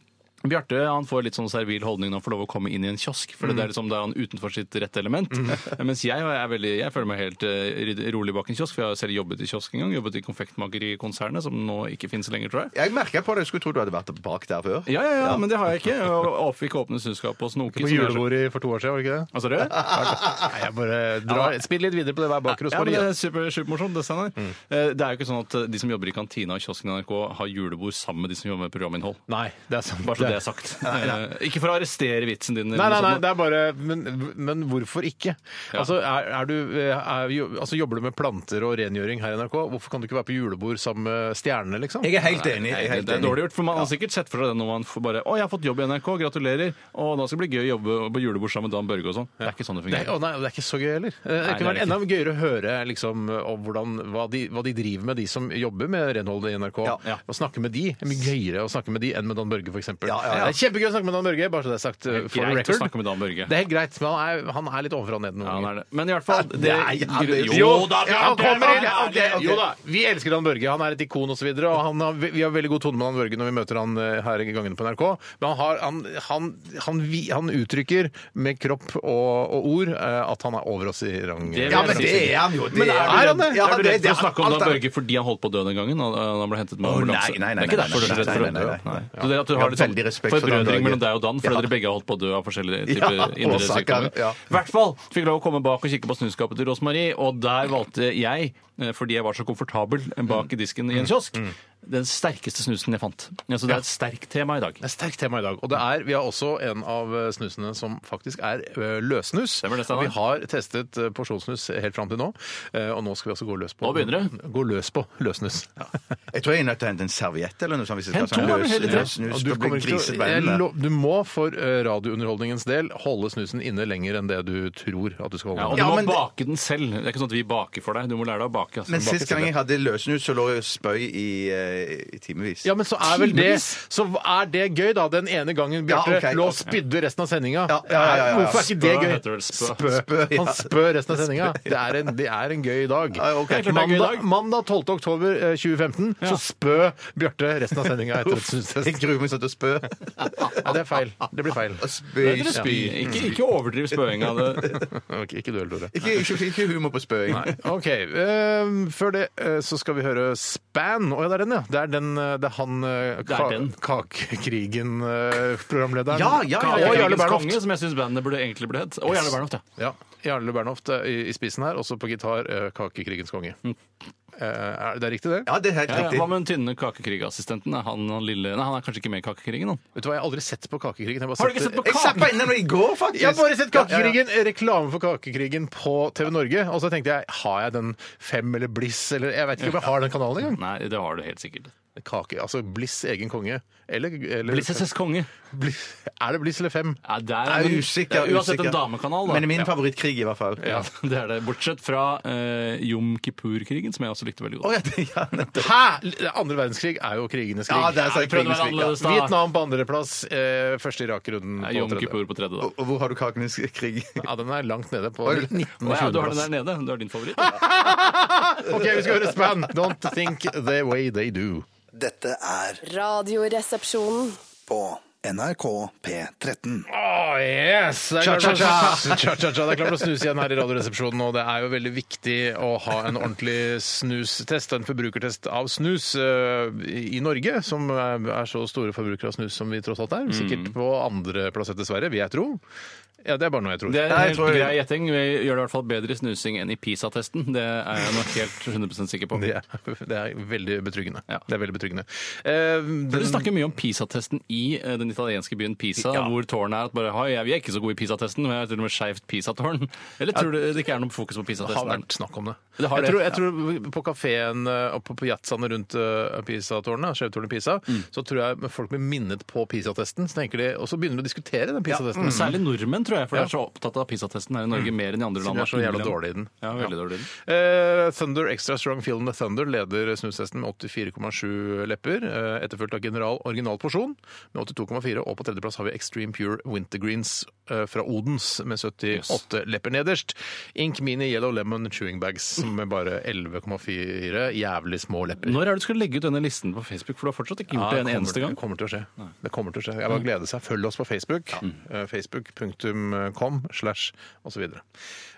Bjarte han får litt sånn servil holdning når han får lov å komme inn i en kiosk. For det er liksom da er han utenfor sitt rette element. Mens jeg, er veldig, jeg føler meg helt eh, ryd- rolig bak en kiosk, for jeg har selv jobbet i kiosk en gang. Jobbet i konfektmakerikonsernet, som nå ikke finnes lenger, tror jeg.
jeg merka på det. Jeg skulle tro du hadde vært bak der før.
Ja, ja, ja, men det har jeg ikke. Og og fikk åpne snuskapet og snoke.
På
som jeg-
julebordet for to år siden, var det ikke det?
Hva sa du?
Nei, jeg bare drar. Spill litt videre på det hver bak
Ja, men
Rosemarie.
det
da.
er super, supermorsomt. Det, Steinar. Eh, det er jo ikke sånn at eh, de som jobber i kantina og kiosken i NRK, har julebord sammen med de som jobber med programinnhold.
Nei, det er Sånn- sant.
Bare så det er sagt. Eh, Ikke for å arrestere vitsen din. eller
Nei, nei,
noe
nei,
sånt.
det er bare Men, men hvorfor ikke? Altså, er, er du, er, jo- altså, jobber du med planter og rengjøring her i NRK? Hvorfor kan du ikke være på julebord sammen med stjernene, liksom?
Jeg er helt enig. Jeg er
Nei,
helt
det er
enig.
dårlig gjort, for man har sikkert sett for seg det når man får bare 'Å, jeg har fått jobb i NRK, gratulerer', og da skal det bli gøy å jobbe på julebord sammen med Dan Børge og sånn. Det er ikke sånn det
Det er,
fungerer.
å nei, det er ikke så gøy heller. Eh, Det
Nei,
kunne
det
vært
er
enda gøyere å høre liksom, om hvordan, hva, de, hva de driver med, de som jobber med renholdet i NRK.
Ja.
Å snakke med de er mye gøyere å snakke med de enn med Dan Børge, f.eks.
Ja,
ja. Det er kjempegøy å snakke med Dan Børge, bare så det er sagt. uh, For
greit å
record.
snakke med Dan Børge.
Det er helt greit, men han er, han er litt ovenfra og ned noen
Ja, han
ganger.
er det. Men i hvert fall det,
Nei, ja, det-
Jo da!
Ja, han kommer inn!
Ja, det- ok.
Jo da, vi elsker Dan Børge. Han er et ikon osv. Og han har, vi har veldig god tone med Dan Børge når vi møter han eh, her i gangen på NRK. Men han, har, han, han, han, vi- han uttrykker med kropp og, og ord eh, at han er over oss i rang.
Det vil
Ja, men det er han jo. Det
Men er han det?
Ja,
Er du
det-
redd
det er
for å snakke om
alt
Dan
er-
Børge fordi han holdt på å dø den gangen? og Han ble hentet med
Å, nei,
ambulanse?
nei, nei,
det er ikke
nei,
derfor du
nei,
er redd for
nei,
å
nei,
dø?
nei, nei.
Så det at du
Jeg har
har litt
veldig
sånn
respekt for Dan Børge.
forbrødring mellom deg og Dan, for
Ja.
dere begge har holdt på å dø av forskjellige
Ja,
typer indre
årsaker,
sykdommer.
ja.
I hvert fall fikk lov å komme bak og kikke på snuskapet til Rosmarie, og der valgte jeg, eh, fordi jeg var så komfortabel eh, bak
Mm.
i disken i en kiosk, den sterkeste snusen jeg fant. Ja, så det er et sterkt tema i dag.
Det er et sterkt tema i dag. Og det er, vi har også en av eh, snusene som faktisk er eh, løssnus.
Stemmer det,
og
Steinar?
vi har testet eh, porsjonssnus helt fram til nå, eh, og nå skal vi også gå løs på
Nå begynner det.
Gå løs på løssnus.
Jeg tror jeg er nødt til å hente en serviett eller noe sånt. Hvis jeg
Hent
skal
to, da,
ha sånn løs,
eller tre.
løs snus.
Og
Du
kommer ikke til å- jeg
grisebeinene.
lo- du må for eh, radiounderholdningens del holde snusen inne lenger enn det du tror at du skal holde
Ja, og
den.
du
Ja,
må
men det-
bake den selv. Det er ikke sånn at vi baker for deg. Du må lære deg å bake. Altså.
Men
Bake
sist gang
selv.
jeg hadde løssnus, så lå jeg og spøy i, eh, i timevis.
Ja, men så er vel det Så er det gøy, da. Den ene gangen Bjarte
Ja, ok.
lå og spydde resten av sendinga.
Ja, ja, ja, ja, ja.
Hvorfor er ikke det
Spø
gøy?
heter det vel, spø.
Spø, ja.
Han spør resten av sendinga. Det, er en- det er en gøy dag.
Ja, ok.
Det er klart det er en gøy
Mandag,
dag.
mandag 12. oktober eh, 2015 så spø Bjarte resten av sendinga etter et
Jeg
snustest.
gruer meg sånn til å spø.
Ja, det er feil. Det blir feil.
Og spøy.
Dere spy. Ikke, ikke overdriv spøinga. Det.
Ok, ikke du heller, Tore.
Ikke, ikke, ikke humor på spøing.
OK. eh, før det eh, så skal vi høre Span. Å ja, det er den, ja. Det er, den, eh, det er han eh,
er
ka eh,
den.
Kakekrigen-programlederen.
Ja, ja, ja,
Og
Jarle
Jarle
Bernhoft.
Konge, som jeg syns bandet burde egentlig bli hett. Og Jarle Bernhoft, ja.
Ja. Jarle Bernhoft eh, i, i spissen her, også på gitar eh, Kakekrigens konge. Eh, er det er riktig, det?
Ja, det er helt
Ja,
riktig.
Hva med den tynne kakekrigassistenten? Er Han, han lille Nei, han er kanskje ikke med i Kakekrigen, han.
Vet du hva, Jeg har aldri sett på Kakekrigen. Jeg har bare
Har du ikke sett på
Jeg zappa innom i går, faktisk.
Jeg har bare sett
Ja, ja, ja.
Kakekrigen, eh, reklame for Kakekrigen på TV Norge. Og så tenkte jeg har jeg den Fem eller Bliss eller Jeg vet ikke om jeg har den kanalen engang.
Nei, det har du helt sikkert.
Kake, altså Bliss egen konge. Eller, eller
Prinsesses konge.
Bliss, Er det Bliss eller Fem?
Ja, der
Jeg er
men-
usikker.
det er Uansett
usikker.
en damekanal, da.
Men min favorittkrig, i hvert fall.
ja, det er det. Bortsett fra eh, Jom Kippur-krigen, som jeg også likte veldig godt.
Å, ja, det- ja, nettopp.
Hæ?! Andre verdenskrig er jo krigenes krig.
Ja, det er
Ja, vi
sant.
prøvde å
krigens
være
krig, ja.
annerledes da.
Vietnam på andreplass, eh, første Irak-runden
Nei,
på
Jom
tredje.
Kippur på tredje, da.
Og hvor har du kakenes krig?
Ja, den er langt nede på
Oi.
19. og
Å ja, du
20.
har den der nede. Du har din favoritt. da.
OK, vi skal høre Span. Don't think the way they do.
Dette er
Radioresepsjonen.
på NRK P13.
Oh, yes! Det er klart å- Cha-cha-cha. Det er klart å snuse igjen her i Radioresepsjonen, og det er jo veldig viktig å ha en ordentlig snustest, en forbrukertest av snus eh, i Norge, som eh, er så store forbrukere av snus som vi tross alt
Mm.
er. Sikkert på andreplass etter Sverige, vil jeg tro. Ja, det er bare noe jeg tror.
Det er en
Nei, jeg
helt
tror-
grei gjetting. Vi gjør det i hvert fall bedre i snusing enn i PISA-testen. Det er jeg nok helt 100 sikker på.
Det er, det er veldig betryggende.
Ja.
Det er veldig betryggende. Eh,
Dere
den-
snakker mye om PISA-testen i eh, den italienske byen Pisa, hvor tårnet er at bare, «Hei, jeg- vi er ikke så gode i PISA-testen, vi er til og med skeivt PISA-tårn. Eller tror du det ikke er noe fokus på
Det har
PISA-testen?
vært snakk om det.
Det har
jeg,
det,
tror, jeg tror på kafeen og på piazzaene rundt eh, Pisa-tårnet, Skjevtårnet Pisa,
Mm.
så tror jeg folk blir minnet på Pisa-testen. Så tenker de, Og så begynner de å diskutere den Pisa-testen.
Men Særlig nordmenn, tror jeg, for de er så opptatt av PISA-testen her i Norge, mer enn i andre land.
Mm. De er så jævla dårlig i den.
Ja, veldig dårlig i den.
Eh, Thunder Extra Strong Film The Thunder leder snustesten med 84,7 lepper. Uh, Etterfulgt av General Original Porsjon med 82,4. Og på tredjeplass har vi Extreme Pure Wintergreens eh, fra Odens med 78 lepper nederst. Ink Mini Yellow Lemon Chewing Bags med bare 11,4 jævlig små lepper.
Når er det du skal legge ut denne listen på Facebook, for du har fortsatt ikke gjort
Ja,
det en
kommer-
eneste gang?
Det kommer til å skje. Det kommer til å skje. Jeg bare gleder seg. Følg oss på Facebook. Eh, Facebook.com slash og så videre.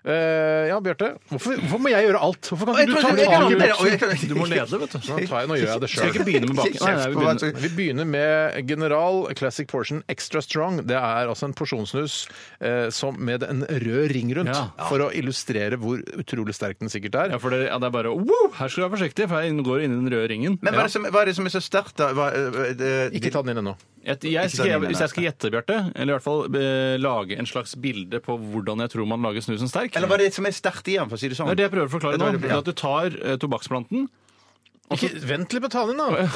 Eh, ja, Bjarte. Hvorfor, hvorfor må jeg gjøre alt? Hvorfor kan
Jeg
ikke du
tror-
ta tak i
jeg kan- jeg- jeg-
buksen?
jeg- jeg-
Du må lede, vet du.
Nå tar jeg, nå gjør jeg det
Skal vi ikke
sjøl.
begynne med baken? Nei, nei, vi begynner.
Vi begynner med General Classic Portion Extra Strong. Det er altså en porsjonssnus eh, som med en rød ring rundt,
Ja.
for å illustrere hvor utrolig sterk den sikkert er.
Ja, for det, ja, det er bare wow, her skal du være forsiktig, for jeg går inn i den røde ringen.
Men hva er det som, hva er, det som er så sterkt, da? Hva, eh, det-
Ikke ta den inn ennå.
Et, jeg
den
skal,
ene,
hvis jeg skal gjette, Bjarte, eller i hvert fall eh, lage en slags bilde på hvordan jeg tror man lager snusen sterk
Eller hva er det som er sterkt i den, for å si det sånn?
Det er det jeg prøver å forklare
Det
nå.
var det-
Det er at du tar eh, tobakksplanten
Ikke, vent litt med talen din, da!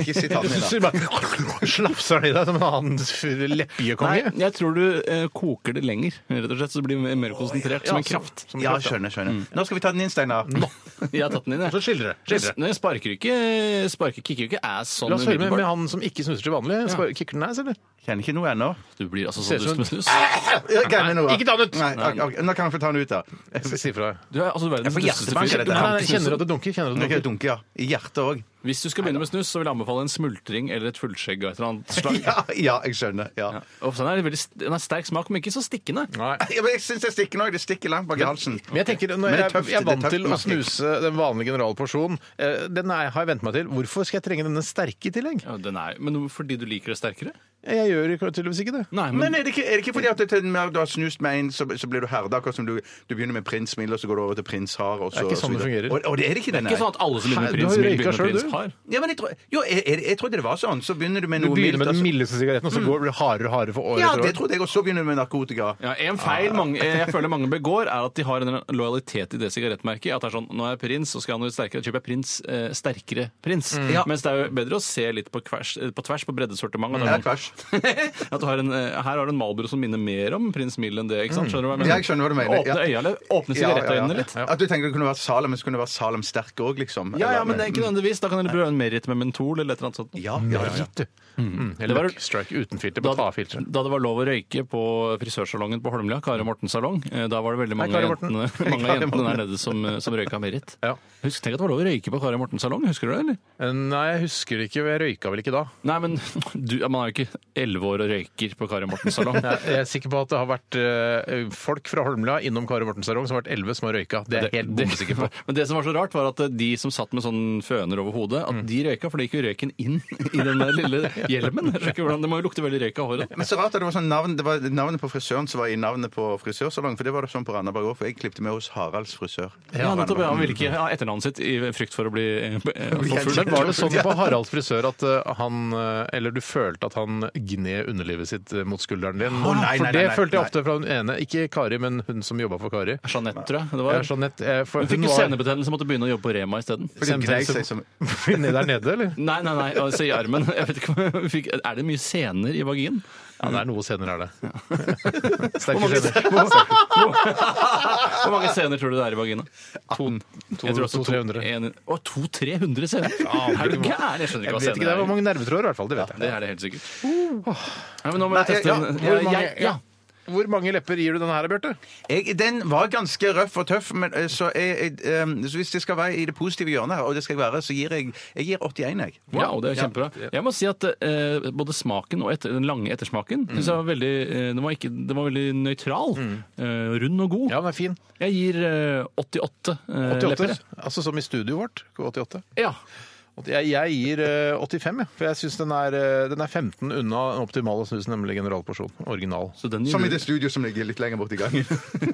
Ikke si tannen
Så
din, da.
bare slafser han i deg som en annen
Nei,
lepjekonge.
jeg tror du eh, koker det lenger, rett og slett, så det blir mer- mer konsentrert som en
altså,
kraft. Som en
Ja,
kraft,
skjønner, skjønner. Nå skal vi ta den inn, Steinar.
Jeg har tatt den inn,
Så
jeg.
skildre. skildre.
Nei, jeg sparker ikke, sparker, kicker jo ikke ass sånn
La oss høre med, med
umiddelbart.
han som ikke snuser til vanlig. Spar- Kicker den ass, eller?
Kjenner ikke noe ennå.
Du blir altså
Ser
så
ut
dust
som
med snus.
Jeg greier noe, da.
Ikke ta den ut!
Nei, ok, ok, Nå kan jeg få ta den ut, da.
Si fra.
Du er altså verdens
får
dusteste
hjertebank
Nei, nei,
av dette her.
fyr. Du kan ikke snuse.
kjenner du at det dunker? Kjenner du
Nå
at
kan
det
jeg
dunker?
dunke, ja. I hjertet òg.
Hvis du skal begynne med snus, så vil jeg anbefale en smultring eller et fullskjegg av et eller annet slag.
Ja, ja, jeg skjønner. Ja.
Ja. Og så er det veldig, st- den er sterk smak, men ikke så stikkende.
Nei.
Ja, men jeg syns det stikker nå. Det stikker langt bak i halsen.
Men jeg tenker, når
Men det
jeg,
er tøft,
jeg er
det er
vant
tøft
til å
merke.
snuse den vanlige generalporsjonen. Eh, Den er, har jeg vent meg til. Hvorfor skal jeg trenge denne sterke i tillegg?
Ja, den er, men fordi du liker det sterkere?
Jeg gjør jo tydeligvis ikke det.
Nei,
Men er det, ikke, er det ikke fordi at det- til mer du har snust med en, så, så blir du herda? Akkurat som du, du begynner med prins Mild, og så går du over til prins Har. Og
Det
så,
er ikke sånn
og så
det
videre.
fungerer.
Og, og det er det ikke, det,
Det
nei.
er ikke sånn at alle som begynner
Nei,
med
du har jo
prins, vil
røyka
begynne med
selv,
prins
du.
har.
Ja, men jeg, tror, jo, jeg, jeg, jeg trodde det var sånn. Så begynner du med
Du
noe
begynner
mildt,
med
og
den
så-
mildeste sigaretten, og så går, blir det hardere og hardere for år
Ja,
etter
det
år.
trodde jeg, og så begynner du med narkotika.
Ja, en feil mange, jeg føler mange begår, er at de har en eller annen lojalitet i det sigarettmerket. At det er sånn, nå er jeg prins, og skal jeg ha noe sterkere, kjøper jeg prins, eh, sterkere prins. Mens det er jo bedre å se litt på, kvers, eh, på tvers på breddesortiment. at det
Ja,
er sånn-
tvers.
at du har en, eh, her har du en Malbro som minner mer om prins Mild enn det, ikke sant? Skjønner du hva Mm. jeg
Ja,
mener?
jeg skjønner hva du mener.
Åpne
Ja. Ja,
øynene, åpne
ja, ja.
sigarettøynene litt.
At du tenker det kunne vært Salem, men så kunne det vært Salem sterk òg, liksom.
Ja, ja, mm.
Eller-
men det er ikke nødvendigvis. Da kan du prøve en Merit med mentol eller et eller annet sånt.
ja, ja, ja.
Gitt, du. Mm. Eller
var-
lucky strike uten filter.
Da,
Bare
Mm.
ta av filteret.
da det var lov å røyke på frisørsalongen på Holmlia, Kari Mortens salong, eh, da var det veldig mange
Kari
av
Morten.
jentene, mange av jentene der nede som, eh, som røyka Merit.
Ja. Eh,
Husk, tenk at det var lov å røyke på Kari Mortens salong, husker du det, eller?
Nei, jeg husker ikke. Jeg røyka vel ikke da.
Nei, men du, ja, man er jo ikke elleve år og røyker på Kari Mortens salong.
Jeg jeg er sikker på at det har vært eh, folk fra Holmlia innom Kari Mortens salong som har vært elleve, som har røyka. Det er jeg helt bombesikker på.
Men det som var så rart, var at eh, de som satt med sånn føner over hodet,
Mm.
at de røyka, for det gikk jo røyken inn i den der lille hjelmen. Jeg skjønner ikke hvordan, Det må jo lukte veldig røyk av håret.
Men så rart at det var sånn navn, det var navnet på frisøren som var i navnet på frisørsalongen. For det var det sånn på Randaberg òg, for jeg klippte meg hos Haralds frisør.
Ja, nettopp. Ja, han ville ikke ha etternavnet sitt i frykt for å bli eh, forfulgt.
gjenkjent.
Men var det sånn på Haralds frisør at eh, han eh, Eller du følte at han gned underlivet sitt eh, mot skulderen din?
nei,
for
nei,
det
nei,
følte jeg
nei.
ofte fra hun ene. Ikke Kari, men hun som jobba for Kari.
Jeanette, tror jeg. Det
Ja,
var.
Jeanette, eh, for
Hun fikk
hun
jo
var-
senebetennelse og måtte begynne å jobbe på Rema isteden.
For det grei seg som
Nede der nede, eller?
Nei, nei, nei, altså i armen. Jeg vet ikke, om hun fikk, er det mye sener i vaginen?
Ja, det er noe senere, er det. Sterke
mange-
scener.
Hvor mange sener tror du det er i vagina? To, jeg tror også
to- 300.
en- Å, 200-300 sener?
aner
Er
ikke
du
hvor- Jeg
gæren? Jeg skjønner ikke hva
vet ikke,
sener
det
er.
var mange nervetråder i hvert fall, det vet jeg.
Det er det helt sikkert. Ja, men nå må jeg
Nei,
teste
ja,
en-
Hvor mange,
jeg- ja.
Hvor mange lepper gir du denne her, Bjarte?
Jeg, den var ganske røff og tøff, men eh, så, jeg, jeg, eh, så hvis det skal være i det positive hjørnet, her, og det skal jeg være, så gir jeg, jeg gir 81, jeg.
Wow, det er kjempebra. Jeg må si at eh, både smaken og etter, den lange ettersmaken
Mm.
synes jeg var veldig, eh, den, var ikke, den var veldig nøytral. Eh, rund og god.
Ja, den er fin.
Jeg gir eh, 88, eh,
88.
lepper.
Altså som i studioet vårt. 88.
Ja.
Og Jeg, jeg gir eh, 85, jeg. For jeg syns den, er, eh, den er 15 unna den optimale snusen, nemlig generalporsjon. Original.
Så den
Som i
gir
det studio som ligger litt lenger borti gangen.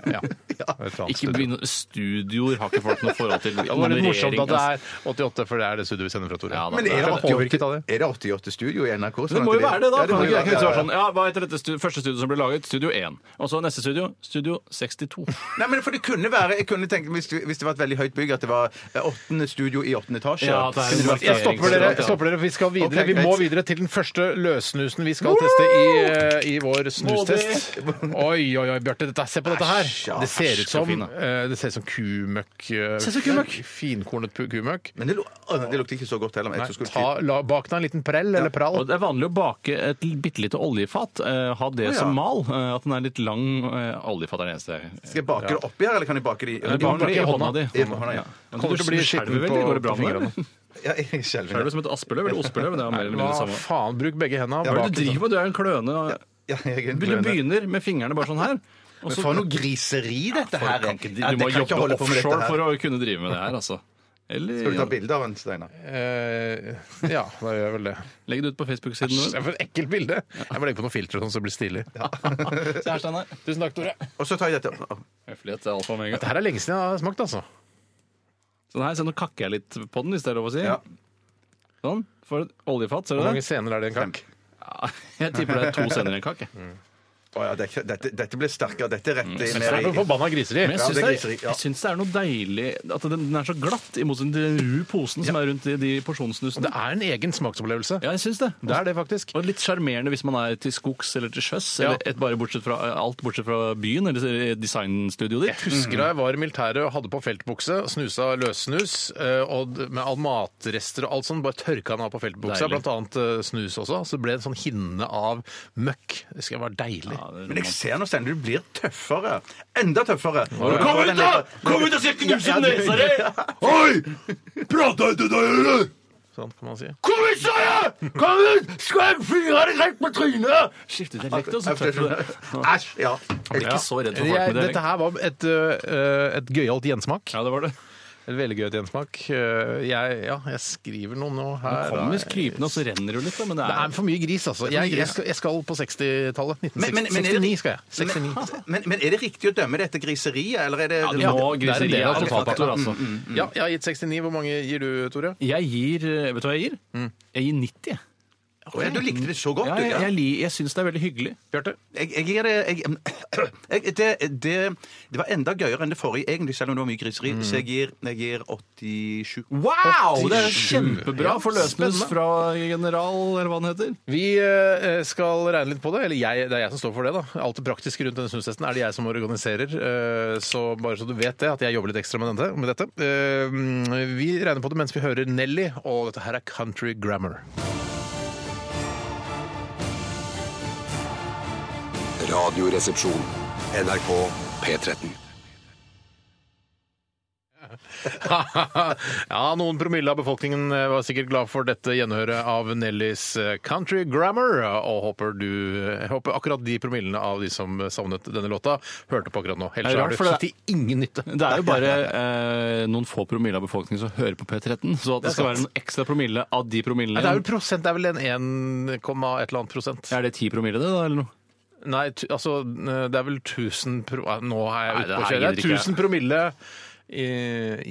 Ja. Et annet
ikke
studio.
begynn Studioer har ikke folk noe forhold til
Ja, det var litt morsomt at
nummerering, altså.
det er 88, for det er det studioet vi sender fra Tore.
Ja, da.
Men er det,
Kanskje påvirket av
88,
det.
er det 88 studio i NRK?
Det må jo være det, da.
Ja,
kan
må jo
det ikke- det kan
være
ikke
det.
være sånn, ja, Hva heter dette stu- første studio som ble laget? Studio 1. Og så neste studio? Studio 62.
Nei, men for det kunne være, jeg kunne tenke, hvis, det- hvis det var et veldig høyt bygg, at det var eh, åttende studio i åttende etasje.
Ja, det er en
Kunne vært-
markering.
Jeg stopper dere, jeg stopper dere, for vi skal videre.
Ok,
Vi må
greit.
videre til den første løssnusen vi skal teste i, eh, i vår snustest. Oi, oi, oi, Bjarte. dette- Se på dette her.
Æsj, ja,
Det ser
æsj,
ut som,
så fin, da.
eh, det ser ut som kumøkk. eh,
Ser ut som kumøkk.
Finkornet pu- kumøkk.
Men det, lu- Å, det lukter ikke så godt heller. men jeg tror det skulle-
Ta, la, bak deg en liten prell eller
Og
prall.
det er vanlig å bake et bitte lite oljefat. eh, ha det som mal. eh, at den er litt lang. eh, oljefat er det eneste jeg
Skal jeg bake det oppi her, eller kan jeg bake det i
Du baker det i hånda di.
I hånda, ja.
Men
Kommer
du
til å bli
skjelver
skitten
veldig,
på-
går det bra
på
med det?
Ja, jeg skjelver.
Skjelver du som et aspeløv eller osteløv? Det er mer eller mindre det
Hva
samme.
faen? Bruk begge hendene.
Hva er
bak-
det du driver med? Du er jo en kløne.
Ja, jeg er en
Du
kløne.
begynner med fingrene bare sånn her. og
Men
så-
for noe griseri dette her er.
Folk kan ikke-
Ja,
Du
det
må
kan ikke
jobbe
holde på med dette
offshore
her.
for å kunne drive med det her, altså.
Skal du ta
Eller
bilde av den, Steinar?
Eh, ja, da gjør jeg vel det.
legg det ut på Facebook-siden
Æsj, det
vår.
er for et ekkelt bilde. Jeg må legge på noe filter og sånn, så det blir stilig.
Se her, Steinar.
Tusen takk, Tore.
Og så tar jeg dette. opp.
Høflighet er alfa og omega.
Det her er lenge siden jeg har smakt, altså.
Sånn her, se, nå kakker jeg litt på den, hvis det er lov å si.
Ja.
Sånn. For et oljefat, ser
Hvor
du
mange
det?
scener er det i en kakk?
Mm.
Jeg tipper det er to sender i en kake.
Å ja, det, dette, dette ble sterkere. Dette er rett
Men så er det
i-
noe forbanna griseri.
Men jeg
Ja,
syns
det
det,
griser
er-
i, ja.
jeg syns det er noe deilig at den, den er så glatt, i motsetning til den ru posen som er rundt de, de porsjonssnusene.
Det er en egen smaksopplevelse.
Ja, jeg syns det.
Det er det, faktisk.
Og litt sjarmerende hvis man er til skogs eller til sjøs.
Ja.
Eller et, bare bortsett fra, alt bortsett fra byen eller designstudioet ditt.
Husker da jeg var i militæret og hadde på feltbukse, snusa løssnus, eh, og d- med all matrester og alt sånn, bare tørka den av på feltbuksa,
Deilig.
blant annet eh, snus også, så ble det en sånn hinne av møkk. Det skal være deilig.
Men jeg ser nå, Steinar, du blir tøffere. Enda tøffere.
Kom ut, da! Kom ut og se knuse nesa di! Oi! Prata ikke da, gjør du?
Sånn kan man si.
Kom ut, sa jeg! Kom ut! Skal jeg fyre deg rett på trynet?
Skifte dialekt, altså. Tøff, du er.
Æsj! Ja.
Jeg blir ikke så redd
Jeg,
for folk med
dette
dialekt.
her var et, eh, et gøyalt gjensmak.
Ja, det var det.
Et veldig gøyalt gjensmak. Eh, Jeg, ja, jeg skriver noe nå her.
Kommer krypende, og så renner du litt, da. Men det
Det er
er
for mye gris, altså. Jeg, jeg, skal, jeg skal på 60-tallet. 1969 skal jeg. 69.
Men, men er det riktig å dømme det etter griseriet, eller er det
ja,
Det
det må
er en
griseriet
del av Mm,
er totalfaktor, altså.
Ja, jeg har gitt 69. Hvor mange gir du, Tore?
Jeg gir eh, Vet du hva jeg gir?
Mm.
Jeg gir 90. jeg.
Å ja, Du likte det så godt,
Ja,
du.
jeg
Ja.
jeg, li- jeg syns det er veldig hyggelig.
Bjarte?
Jeg, jeg gir det jeg, jeg, det, det Det var enda gøyere enn det forrige, egentlig, selv om det var mye griseri.
Mm.
Så jeg gir, jeg gir 87.
Wow! Det er
87.
kjempebra
Ja,
for løsnes
spennende.
fra general, eller hva han heter.
Vi eh, skal regne litt på det. Eller jeg, det er jeg som står for det, da. Alt det praktiske rundt denne snustesten er det jeg som organiserer. eh, Så bare så du vet det, at jeg jobber litt ekstra med, denne, med dette. Eh, Vi regner på det mens vi hører Nelly, og dette her er Country Grammar.
Radioresepsjon. NRK P13.
ja, noen promille av befolkningen eh, var sikkert glad for dette gjenhøret av Nellys eh, Country Grammar, og håper, du, jeg håper akkurat de promillene av de som savnet denne låta, hørte på akkurat nå.
Det
Ellers
er
er
rart,
det
for det-
til ingen nytte.
Det er jo bare eh, noen få promille av befolkningen som hører på P13, så at det skal være noen ekstra promille av de promillene
Nei, det er vel prosent, det er vel en 1, et eller annet prosent.
Er det ti promille, det, da? eller noe?
Nei, tu, altså, det er vel 1000 pro... ah, Nå er jeg
Nei, det
ute på å kjøre.
her
Det
gidder
er
ikke jeg.
1000 promille i,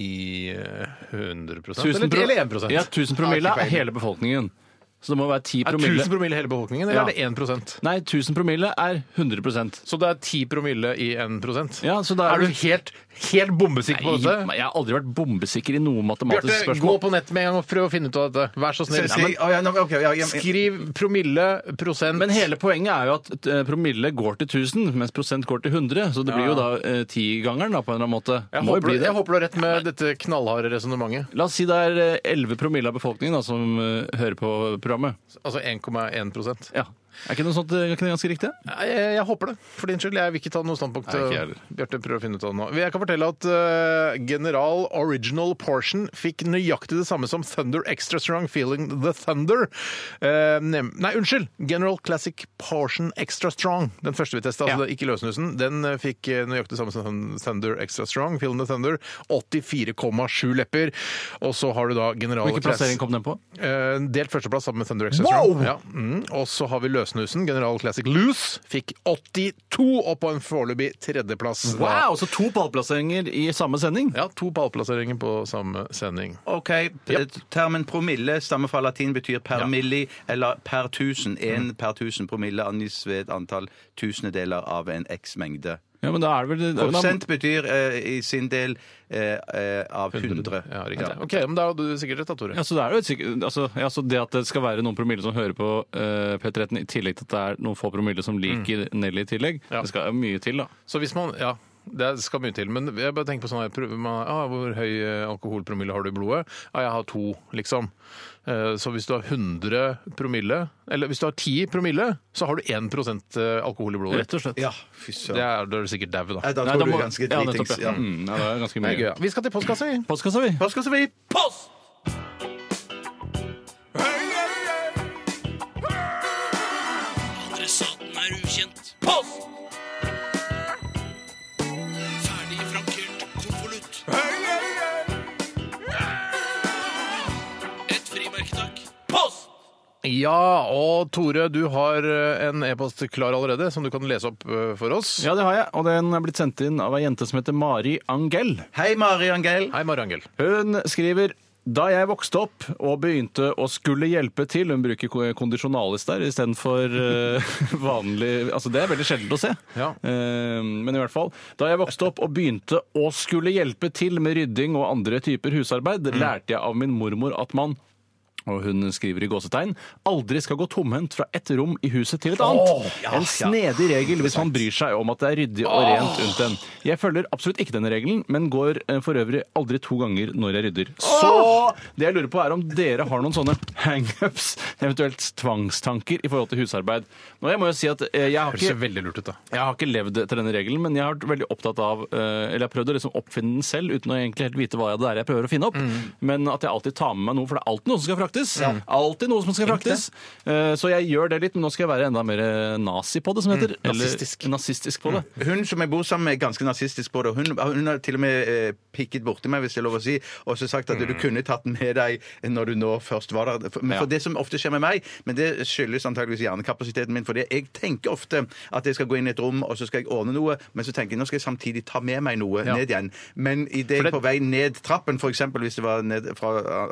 i eh, 100
Tusen
eller,
pro-
eller 1 prosent.
Ja, 1000 promille er hele befolkningen. Så det må være 10
Er
promille
1000 promille hele befolkningen, eller
Ja.
er det 1 prosent?
Nei, 1000 promille er 100
Så det er 10 promille i 1 prosent?
Ja, så da er
er du
det-
helt, helt bombesikker på
Nei,
dette?
jeg har aldri vært bombesikker i noe matematisk
Bjarte, gå
spørsmål.
på nettet med en gang og prøv å finne ut av dette. Vær så snill.
Så jeg- å ja, nå- ok, ja, ja, ja.
Skriv promille, prosent
Men hele poenget er jo at eh, promille går til 1000, mens prosent går til 100. Så det blir jo da eh, tigangeren, da, på en eller annen måte.
jeg
Må jo
håper,
bli
du-
det.
jeg håper du har rett med dette knallharde resonnementet.
La oss si det er eh, 11 promille av befolkningen da, som eh, hører på programmet.
Altså 1,1 prosent.
Ja. Er ikke noe sånt eh, ikke det ganske riktig?
Nei, Jeg, jeg håper det. For din skyld. Jeg vil ikke ta noe standpunkt. eh,
Nei, ikke jeg heller.
Bjarte, prøv å finne ut av det nå. Jeg kan fortelle at eh, General Original Portion fikk nøyaktig det samme som Thunder Extra Strong Feeling The Thunder. Eh, nem- nei, unnskyld! General Classic Portion Extra Strong. Den første vi testa, altså det er ikke løssnusen, den eh, fikk eh, nøyaktig det samme som Thun- Thunder Extra Strong Feeling The Thunder. 84,7 lepper. Og så har du da General
Hvilken plassering kom den på?
Eh, Delt førsteplass sammen med Thunder Extra Strong. Ja. Mm. Og så har vi løssnusen. General Classic Loose fikk 82, og på en foreløpig tredjeplass. da.
Wow, så to pallplasseringer i samme sending?
Ja, To pallplasseringer på samme sending.
OK. eh, Termen promille stammer fra latin, betyr per milli eller per tusen.
Mm.
Én per tusen promille angis ved et antall tusendeler av en x mengde.
Ja, men da er det vel da-
Prosent betyr eh, i sin del eh, eh, av 100.
Ja, riktig. Ok, men Da hadde du sikkert rett, da, Tore.
Ja, så det er jo et sikkert, altså, ja, så det at det skal være noen promille som hører på eh, P13, i tillegg til at det er noen få promille som liker
Mm.
Nelly i tillegg, det skal mye til, da.
Så hvis man, ja, Det skal mye til. Men jeg bare tenker på sånn her, prøver man, ah, hvor høy eh, alkoholpromille har du i blodet? Ah, jeg har to, liksom. Eh, Så hvis du har 100 promille, eller hvis du har 10 promille, så har du 1 alkohol i blodet.
Rett og slett.
Ja, fy
Det
søren.
er, da er du sikkert dau, da.
Nei, Da
Nei,
tror
da
du
må-
er ganske
ja,
dritings.
nettopp, ja. Mm, ja, det er ganske
Det er gøy,
mye.
ja. Vi skal til postkassa, vi.
Postkassa, vi.
Hva skal så vi?
Ja, og Tore, du har eh, en e-post klar allerede, som du kan lese opp eh, for oss.
Ja, det har jeg, og den er blitt sendt inn av ei jente som heter Mari Angell.
Hei, Mari Angell.
Hei, Mari Angel.
Hun skriver Da jeg vokste opp og begynte å skulle hjelpe til Hun bruker ko- kondisjonalis der istedenfor uh, vanlig Altså, det er veldig sjeldent å se.
Ja.
Eh, men i hvert fall. Da jeg vokste opp og begynte å skulle hjelpe til med rydding og andre typer husarbeid, lærte jeg av min mormor at man og hun skriver i gåsetegn aldri skal gå tomhendt fra ett rom i huset til et annet. en snedig regel hvis man bryr seg om at det er ryddig og rent rundt en. Jeg følger absolutt ikke denne regelen, men går eh, for øvrig aldri to ganger når jeg rydder. Så det jeg lurer på er om dere har noen sånne hangups, eventuelt tvangstanker i forhold til husarbeid. Nå, jeg må jo si at eh, jeg har
Høres jo
ikke
veldig lurt ut, da.
jeg har ikke levd etter denne regelen, men jeg har vært veldig opptatt av eh, Eller jeg har prøvd å liksom oppfinne den selv uten å egentlig helt vite hva det er jeg prøver å finne opp.
Mm.
Men at jeg alltid tar med meg noe, for det er alltid noe som skal fraktes. Alltid noe som skal fraktes. Eh, så jeg gjør det litt, men nå skal jeg være enda mer eh, nazi på det, som heter.
Mm.
eller
nazistisk.
nazistisk på det.
Hun som jeg bor sammen med, er ganske nazistisk på det. Hun, hun har til og med eh, pikket borti meg, hvis det er lov å si, og så sagt at du kunne tatt den med deg når du nå først var der. For, men
Mm. Ja.
for det som ofte skjer med meg, men det skyldes antageligvis hjernekapasiteten min, for det, jeg tenker ofte at jeg skal gå inn i et rom, og så skal jeg ordne noe, men så tenker jeg nå skal jeg samtidig ta med meg noe
Ja.
ned igjen. Men idet jeg
det-
er på vei ned trappen, f.eks. hvis det var ned fra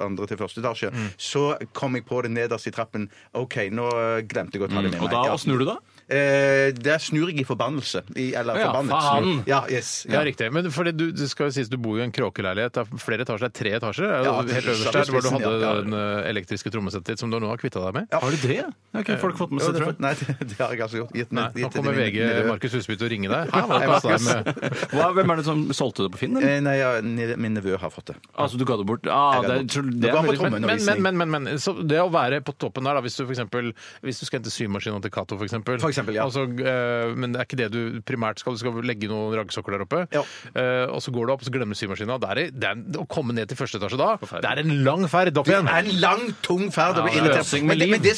andre til første etasje,
Mm.
så kom jeg på det nederst i trappen. OK, nå eh, glemte jeg å ta det med meg.
Mm. Og da
Ja.
og snur du da?
Eh, der snur jeg i forbannelse. I, eller
Ja,
forbannet.
faen.
Ja, yes.
Ja, riktig. Men fordi du, det skal jo sies du bor jo i en kråkeleilighet. Det er flere etasjer. Det er tre etasjer. Det er
Ja,
jo
det er
helt øverst
svært
der hvor du
spissen,
hadde
ja, ja.
den eh, elektriske trommesettet ditt, som du nå har kvitta deg med.
Ja.
Har du det? Det har ikke folk fått med
Jo,
seg,
det,
tror jeg.
nei, det, det har jeg altså gjort. Gitt,
Nei,
gitt
nå
det
kommer
til min-
VG
min-
Markus Husby til å ringe deg. Hæ, hva er det passet deg med?
Hva, hvem er det som solgte det på Finn? Eller?
Eh, Nei, ja, ni- min nevø har fått det.
Altså, du ga det bort? Ah,
Jeg ga
det,
det
er-
bort.
det
Det var
er
på
veldig
tommen.
men-
Men, men, men, men, men så det å være på toppen der, da, hvis du for eksempel, hvis du skal hente symaskinen til Cato f.eks.
For eksempel, ja.
eh, Men det er ikke det du primært skal. Du skal legge noen raggsokker der oppe.
Ja.
Eh, og så går du opp, så glemmer du symaskinen. Det er, i- det er, å komme ned til første etasje da, det er en lang ferd opp
Det
igjen.
er en lang, tung ferd. å bli
Ja,
irritert.
løsning med
men, det- men
liv.
det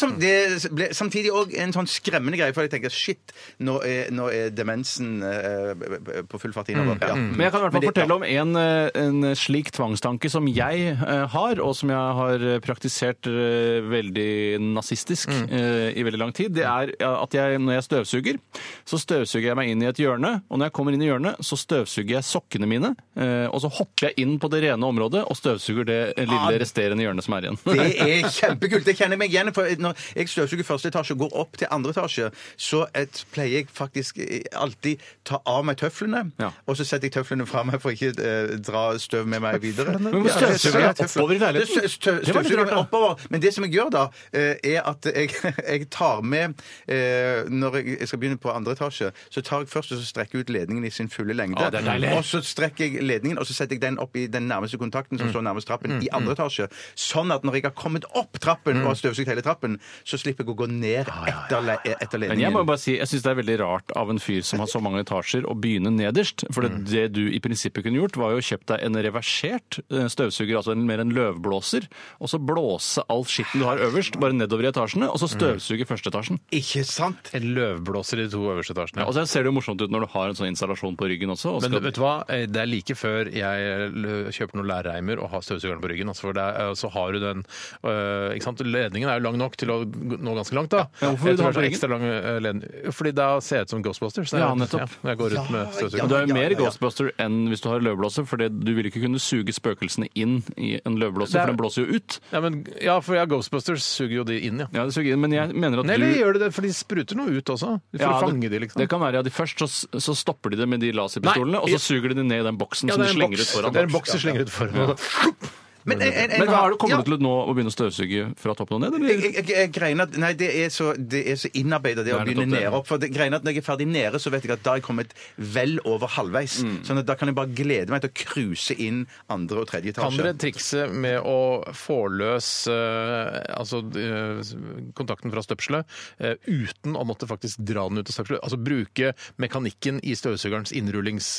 som det ble samtidig òg en sånn skremmende greie, for jeg tenker shit, nå er, nå er demensen eh, på full fart innover. Ja.
Mm. Men jeg kan i hvert
Mm. Men
fall
det-
fortelle om en, eh, en slik tvangstanke som jeg eh, har, og som jeg har eh, praktisert eh, veldig nazistisk
Mm.
eh, i veldig lang tid. Det er ja, at jeg, når jeg støvsuger, så støvsuger jeg meg inn i et hjørne. Og når jeg kommer inn i hjørnet, så støvsuger jeg sokkene mine. eh, Og så hopper jeg inn på det rene området og støvsuger det
Ah.
lille resterende hjørnet som er igjen.
Det er kjempekult. Det kjenner jeg meg igjen i, for Når jeg støvsuger første etasje og går opp til andre etasje, så et, pleier jeg faktisk eh, alltid ta av meg tøflene,
Ja.
og så setter jeg tøflene fra meg for ikke eh, dra støv med meg videre.
Men hvorfor støvsuger
Ja,
jeg oppover i leiligheten?
Støv- støv-
Det var litt
støvsuger
rart,
jeg
da.
oppover. Men det som jeg gjør da, eh, er at jeg, jeg tar med eh, Når jeg jeg skal begynne på andre etasje, så tar jeg først og så strekker jeg ut ledningen i sin fulle lengde.
Å, det er deilig.
og så strekker jeg ledningen, og så setter jeg den opp i den nærmeste kontakten
Mm.
som står nærmest trappen, i andre etasje. Sånn at når jeg har kommet opp trappen
Mm.
og har støvsugd hele trappen, så slipper jeg å gå ned etter, le etter
Men jeg
ledningen.
må jo bare si, jeg syns det er veldig rart av en fyr som har så mange etasjer, å begynne nederst. For
Mm.
det, det du i prinsippet kunne gjort, var jo å kjøpt deg en reversert eh, støvsuger, altså en, mer en løvblåser, og så blåse all skitten du har øverst, bare nedover i etasjene, og så
Mm.
støvsuge første etasjen.
Ikke sant?
En løvblåser i de to øverste etasjene.
Og så ser det jo morsomt ut når du har en sånn installasjon på ryggen også. Og
Men
skal,
vet du hva, Eh, det er like før jeg l- kjøper noen lærreimer og har støvsugeren på ryggen. Altså for det er, eh, så har du den øh, ikke sant? Ledningen er jo lang nok til å g- nå ganske langt, da.
Ja, hvorfor vil
jeg
du ha
tror det er
den på
ekstra lang eh, ledning. Fordi da ser jeg ut som Ghostbusters.
Ja, nettopp.
når jeg går rundt med
Men
støvsugeren.
du er jo
Ja, ja,
mer
ja.
Ghostbuster enn hvis du har løvblåser, for det- du vil ikke kunne suge spøkelsene inn i en løvblåser,
Det er-
for den blåser jo ut.
Ja, men, ja, for ja, Ghostbusters suger jo de inn, ja.
Ja, det suger inn, men jeg mener at
Nei, Eller
du
gjør de det, for de spruter noe ut også. For
Ja,
å fange de, liksom.
Det kan være, ja, de Først så, så stopper de det med de laserpistolene,
Nei,
og
ja.
så suger de det ned i den boksen
ja,
som
det
de
er en
slenger ut
boks.
foran.
Det er en boks de slenger ut foran.
Men, en, en, en,
Men har du
ja.
kommet til nå å begynne å støvsuge fra toppen og ned?
Jeg,
Eller?
jeg, jeg, jeg greier at, nei, det er så, det er så innarbeida, det å
Nei, nettopp
begynne
det.
nede opp. For det, greier at Når jeg er ferdig nede, så vet jeg at da er jeg kommet vel over halvveis.
Mm.
Sånn at da kan jeg bare glede meg til å cruise inn andre og tredje
Kan dere
etasje.
trikse med å få løs eh, altså, eh, kontakten fra støpselet eh, uten å måtte faktisk dra den ut av støpselet? Altså bruke mekanikken i støvsugerens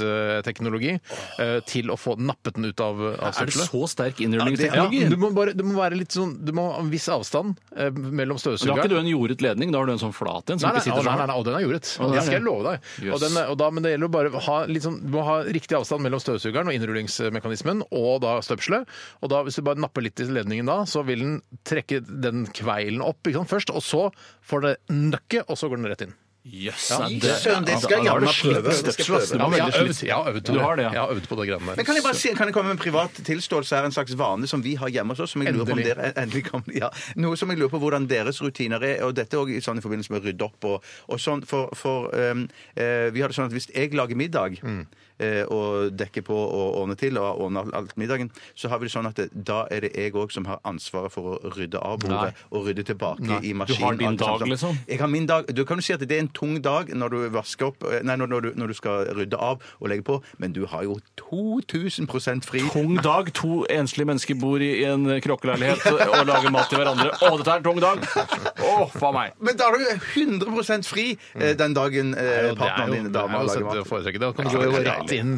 innrullingsteknologi eh, til å få nappet den ut av, av
Er det
støpselet?
så sterk
Ja,
innrullingsteknologi?
du må bare, det må være litt sånn Du må ha en viss avstand eh, mellom
da har
støvsugeren
ikke du en jordet ledning, da har du en sånn flat en som
Nei, nei,
ikke sitter
å, nei, nei,
sånn.
nei, og den er jordet.
Å,
det
den er
skal jeg love deg.
Jøss.
Og den, og da, men det gjelder å bare å ha, litt sånn, du må ha riktig avstand mellom støvsugeren og innrullingsmekanismen og da støpselet. Og da, hvis du bare napper litt i ledningen da, så vil den trekke den kveilen opp ikke sant, først, og så får det nøkket, og så går den rett inn.
Jøss.
Søren, det skal jeg
da
jammen
har du vært
prøve.
litt
Det skal
støpsel, ass.
jeg
Du var
jeg har øvd, jeg har
veldig sliten.
øvd på
Du
det.
har det, ja.
Jeg har øvd på det greiene
Men
der.
kan jeg bare si, kan jeg komme med en privat tilståelse her, en slags vane som vi har hjemme hos oss? som jeg lurer på om
Endelig.
dere endelig kan, ja, Noe som jeg lurer på hvordan deres rutiner er, og dette òg sånn, i forbindelse med å rydde opp og, og sånn. For, for ehm, eh, vi har det sånn at hvis jeg lager middag
Mm.
eh, og dekker på og ordner til og ordner alt- alt middagen, så har vi det sånn at det, da er det jeg òg som har ansvaret for å rydde av bordet og rydde tilbake
Nei.
i
Du har
maskinen.
din
alt sånn. sånt.
dag, liksom?
Jeg har min dag. Du kan jo si at det er en tung dag når du vasker opp eh, Nei, når, når, du, når du skal rydde av og legge på, men du har jo 2000 fri.
Tung dag. To enslige mennesker bor i en kråkeleilighet og lager mat til hverandre. Å, dette er en tung dag! Å, faen meg.
Men da har du 100 fri eh, den dagen
Ja, det er
eh, partneren
Mm. jo,
din
det er
dama
jo
lager
sette- å
mat.
foretrekke det. Da kan du
Ja,
gå
det er
rett
deilig.
inn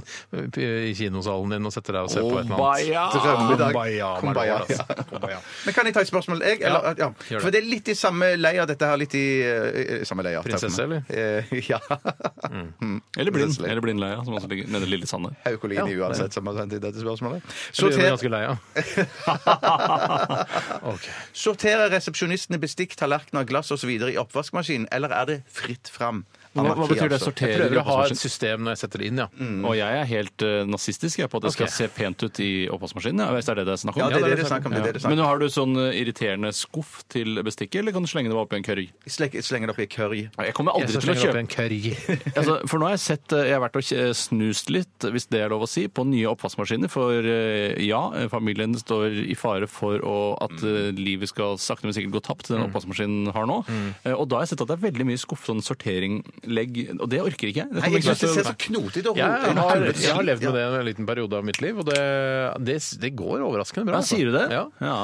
i kinosalen din og sette deg og
Oh,
se på et eller annet.
Obaia.
Drømmedag.
Kumbaya, man
Kumbaya,
lover, altså.
ja.
Kumbaya.
Men kan jeg ta et spørsmål? Jeg, eller, ja.
gjør det.
For det er litt i samme leia, dette her. Litt i eh, samme leia. Takk for
Prinsesse,
meg. Eh, ja.
Eller blind. Eller blindleia, som også ligger nede i Lille Sande.
Haukolini uansett som har sendt inn dette spørsmålet.
Så blir jeg
Sorter,
ganske lei av. Ok.
sorterer resepsjonistene bestikk, tallerkener, glass osv. i oppvaskmaskinen, eller er det fritt fram? altså.
Hva, hva betyr det?
Jeg
Sorterer sånn
prøver å ha
oppvaskmaskinen?
et system når jeg setter det inn, ja.
Mm.
Og jeg er helt eh, nazistisk jeg, på at det skal
Ok.
se pent ut i oppvaskmaskinen. Ja, hvis det er det det er snakk om.
Ja, det er det
det
det er snakk om. Det er det det er
Men
snakk om.
nå har du sånn eh, irriterende skuff til bestikket, eller kan du slenge det oppi en curry?
Sleng- Slenger det oppi curry.
Jeg kommer
Jeg
aldri
skal
til å
slenge det opp i
kjøpe
en curry.
altså, For nå har jeg sett eh, Jeg har vært og kje- snust litt, hvis det er lov å si, på nye oppvaskmaskiner. For eh, ja, eh, familien står i fare for å, at
Mm.
eh, livet skal sakte, men sikkert gå tapt. Den oppvaskmaskinen har nå.
Mm.
Eh, Og da har jeg sett at det er veldig mye skuff, sånn sortering, legg Og det orker ikke jeg. Det
Nei,
kommer
jeg
ikke
syns det
til å-
ser så knotete og
Jeg har,
rotete ut.
jeg har levd med det en liten periode av mitt liv, og det, det, det går overraskende bra.
ja,
altså.
sier du det?
Ja.
ja.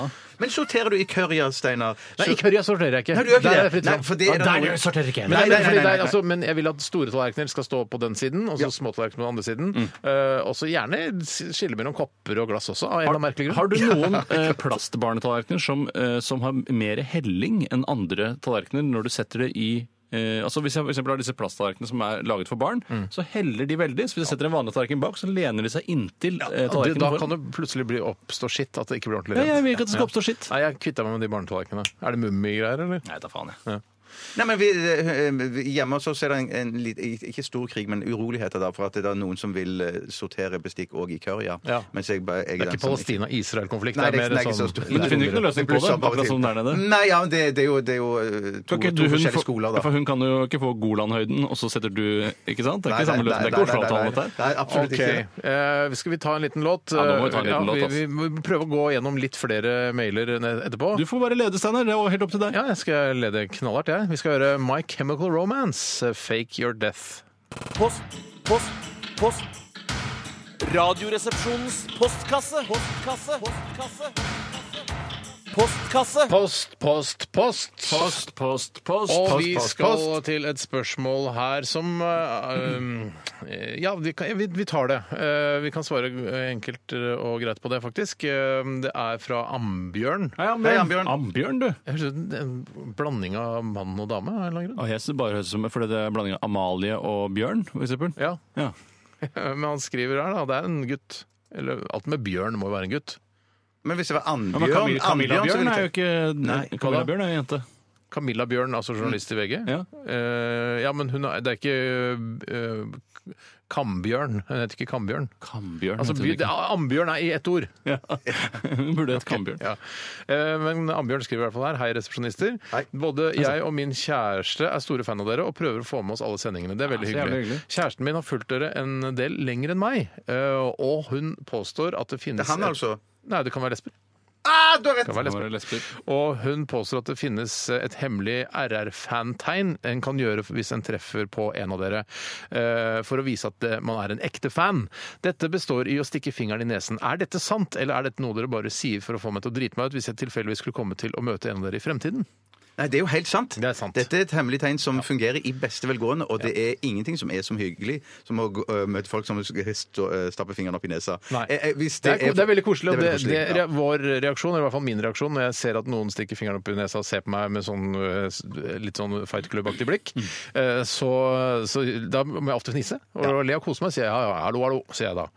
Men sorterer du i curryer, Steinar?
Nei,
Så-
i curry sorterer jeg ikke.
Nei, du gjør ikke
Der er
det.
fritt
Nei,
fram.
for det er
Ja,
det
jeg.
noe- Nei,
Men,
nei, nei,
fordi det
nei,
er,
nei.
altså, men jeg vil at store tallerkener skal stå på den siden, og så små tallerkener på den andre siden. Eh, og så gjerne skille mellom kopper og glass også, av en eller
Har,
annen merkelig grunn.
har du noen eh, plastbarnetallerkener som, eh, som har mer helling enn andre tallerkener når du setter det i eh, altså Hvis jeg for eksempel har disse plasttallerkenene som er laget for barn, så heller de veldig. Så hvis jeg setter en vanlig tallerken bak, så lener de seg inntil eh,
Ja, det-
tallerkenen.
Da
foran.
kan det plutselig bli oppstå skitt, at det ikke blir ordentlig
ja,
rent.
jeg vil ikke at det skal oppstå skitt.
Nei, jeg kvitta meg med de barnetallerkenene. Er det mummigreier, eller?
Nei, da faen jeg.
Nei, men vi, eh, vi- Hjemme hos oss er det en, en lit- ikke stor krig, men uroligheter da, for at det er noen som vil eh, sortere bestikk òg i curryer.
Ja.
Mens jeg, bare- jeg
Det er ikke Palestina-Israel-konflikt.
Nei,
Det er
det er
mer
ikke så
sånn
stor.
Men du finner jo ikke noen løsning på det, akkurat som der nede.
Nei, ja, men det, det er jo, det er jo eh, to,
Kan ikke
to
du- hun
forskjellige
får-
skoler,
ja,
da.
For hun kan jo ikke få Golanhøyden, og så setter du Ikke sant? Det er ikke samme løsning. Det er ikke Oslo-avtalen, dette her.
Nei, absolutt
Ok,
ikke.
eh, Skal vi ta en liten låt?
Ja, nå må vi ta en liten låt, ass.
vi, vi må prøve å gå gjennom litt flere mailer ned- etterpå.
Du får bare lede, Steinar. Det er jo helt opp til deg.
Ja, jeg skal lede knallhardt, jeg. Vi skal høre My Chemical Romance, eh, Fake Your Death.
Post, post, post. Radioresepsjonens postkasse. Postkasse. Postkasse. Postkasse.
Post, post, post!
Post, post, post.
Og
post,
vi
post,
skal
post.
til et spørsmål her som eh, um, eh, Ja, vi, kan, vi, vi tar det. Eh, vi kan svare enkelt og greit på det, faktisk. Eh, det er fra Ambjørn.
Hei,
Hei,
Ambjørn.
Ambjørn.
Ambjørn, du.
Jeg høres ut som en blanding av mann og dame. av en eller annen grunn.
Og jeg synes det bare høres ut som fordi det er en blanding av Amalie og Bjørn, for eksempel.
Ja,
Ja.
Eh, Men han skriver her, da. Det er en gutt. Eller alt med bjørn må jo være en gutt.
Men hvis det var
Ja, men
Annbjørn
Camilla, Camilla
Annbjørn, så
Bjørn
ville
er jo
jeg
ikke Nei,
Nei,
Camilla
hva da?
Bjørn er jo en jente.
Camilla Bjørn, altså journalist i VG.
Ja.
Eh, ja men hun er, det er ikke eh, Kambjørn. Hun heter ikke Kambjørn.
Kambjørn.
Altså,
heter
by,
hun
det,
ikke.
Ambjørn er i ett ord.
Ja. Hun burde hett Kambjørn.
Ja. Eh, Men Ambjørn skriver i hvert fall her. Hei, resepsjonister.
Hei.
Både jeg og min kjæreste er store fan av dere og prøver å få med oss alle sendingene. Det er veldig
Ja, så jævlig
hyggelig. Kjæresten min har fulgt dere en del lenger enn meg, eh, og hun påstår at det finnes
Det er han,
et-
altså.
Nei, det kan være lesber.
Ah, du har rett!
Det kan være
Hun
lesber.
var lesber.
Og hun påstår at det finnes et hemmelig RR-fantegn en kan gjøre hvis en treffer på en av dere, eh, for å vise at det- man er en ekte fan. Dette består i å stikke fingeren i nesen. Er dette sant, eller er dette noe dere bare sier for å få meg til å drite meg ut hvis jeg tilfeldigvis skulle komme til å møte en av dere i fremtiden?
Nei, det er jo helt sant.
Det er sant.
Dette er et hemmelig tegn som fungerer i beste velgående, og det er ingenting som er så hyggelig som å gå- øh, møte folk som skal stå- øh, stappe fingeren opp i nesa.
Nei.
Eh, eh, hvis
Det er, det er veldig koselig. Og
Det
det,
er veldig
det,
koselig,
er vår reaksjon, eller i hvert fall min reaksjon, når jeg ser at noen stikker fingeren opp i nesa og ser på meg med sånn øh, s- litt sånn Fight Club-aktig blikk,
Mm.
eh, så, så da må jeg ofte fnise. Og le og kose meg, sier jeg. Ja, ja, hallo, hallo, sier jeg da.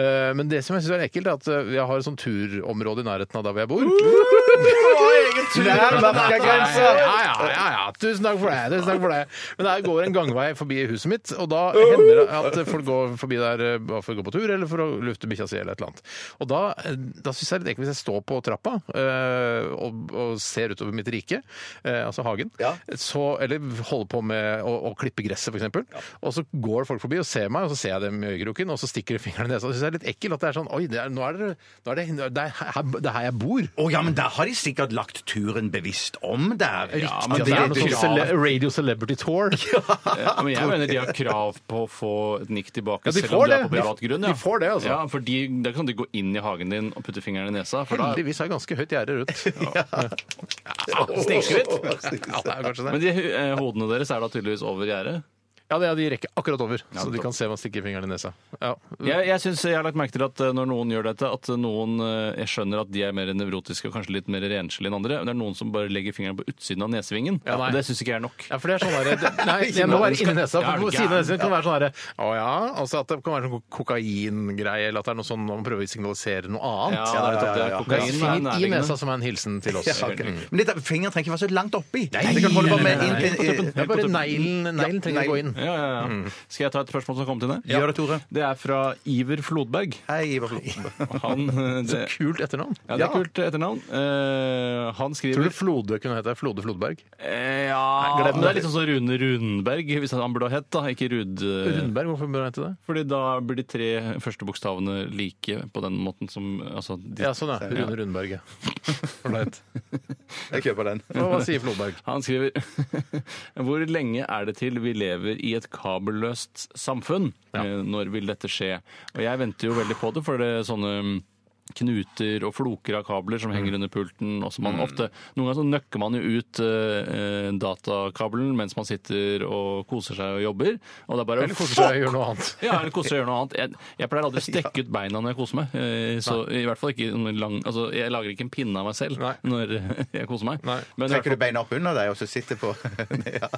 Eh, Men det som jeg syns er ekkelt, er at
Uh!
eh, jeg har et sånt turområde i nærheten av der hvor jeg bor.
Nærmarkagrense!
Ja, ja, ja, ja. Tusen takk for det. Tusen takk for det. Men det går en gangvei forbi huset mitt, og da hender det at folk går forbi der eh, bare for å gå på tur eller for å lufte bikkja si eller et eller annet. Og da, eh, da syns jeg det er litt ekkelt hvis jeg står på trappa eh, og, og ser utover mitt rike, eh, altså hagen, så, eller holder på med å, å klippe gresset f.eks., eksempel og så går folk forbi og ser meg, og så ser jeg dem i øyekroken, og så stikker de fingeren i nesa. Det syns jeg er litt ekkelt at det er sånn Oi, det er, nå er det, nå er det, det, er her, det er her jeg bor.
Å ja, men der har de sikkert lagt turen bevisst om der.
Ja,
men
det er
jo
noe sånn
krav.
cele Radio Celebrity Tour.
Ja, men jeg mener de har krav på å få et nikk tilbake,
Ja, de
selv om
får
det er
det.
på privat grunn. Ja.
De får det, altså.
Ja, for de, da kan sånn de gå inn i hagen din og putte fingeren i nesa. For da,
Heldigvis har jeg ganske høyt gjerde rundt. Ja.
Snikskritt.
Ja, det er kanskje
Men
det.
de eh, hodene deres er da tydeligvis over gjerdet.
Ja, det er de rekker akkurat over, så de kan se man stikker fingeren i nesa. Ja.
Jeg, jeg, synes, jeg har lagt merke til at eh, når noen gjør dette, at noen eh, Jeg skjønner at de er mer nevrotiske og kanskje litt mer renslige enn andre. Men det er noen som bare legger fingeren på utsiden av nesevingen.
Ja, nei.
og det syns ikke jeg er nok.
Ja, for det er sånn der, det, Nei, det må være inni nesa.
Ja, er
For på
du
siden av
gæren?
nesa kan det være sånn herre Å ja. Altså at det kan være sånn kokaingreie, eller at det er noe sånn man prøver å signalisere noe
Ja,
annet.
det er nettopp
Det
det.
er
Kokain er
finger i
nærliggende.
nesa som er en hilsen til oss. Mm.
Men dette, fingeren trenger ikke være så langt oppi. det kan holde bare med inn til
Det er bare neglen neglen trenger å gå inn.
Ja, ja, ja. Skal jeg ta et spørsmål som har kommet inn? her?
Ja. Gjør det, Tore.
Det er fra Iver Flodberg.
Hei, Ivar Flo.
Han, eh, det,
Kult etternavn.
ja, det er kult etternavn. Eh, han skriver
Tror du Flode kunne hete Flode Flodberg?
Eh, ja
glem det.
men Det er litt sånn som Rune Rundberg, hvis han burde ha hett, da. Ikke Rud... eh,
Rundberg, hvorfor bør han hete det?
Fordi da blir de tre første bokstavene like på den måten som altså, de,
Ja, sånn ja. Rune Rundberg, ja. Ålreit.
Jeg kjøper den.
Hva hva sier Flodberg?
Han skriver Hvor lenge er det til vi lever i et kabelløst samfunn? Eh, Når vil dette skje? Og jeg venter jo veldig på det, for det er sånne mm, knuter og floker av kabler som
Mm.
henger under pulten. og som man ofte, Noen ganger så nøkker man jo ut eh, eh, datakabelen mens man sitter og koser seg og jobber. Og det er bare
Eller koser seg og gjør noe annet.
Ja, eller koser seg og gjør noe annet. Jeg, jeg pleier aldri å strekke ut beina når jeg koser meg. eh, Så i hvert fall ikke noen lang, altså Jeg lager ikke en pinne av meg selv
Nei.
når jeg koser meg.
Nei.
Men i hvert
Trekker du beina opp under deg, og så sitter på ja.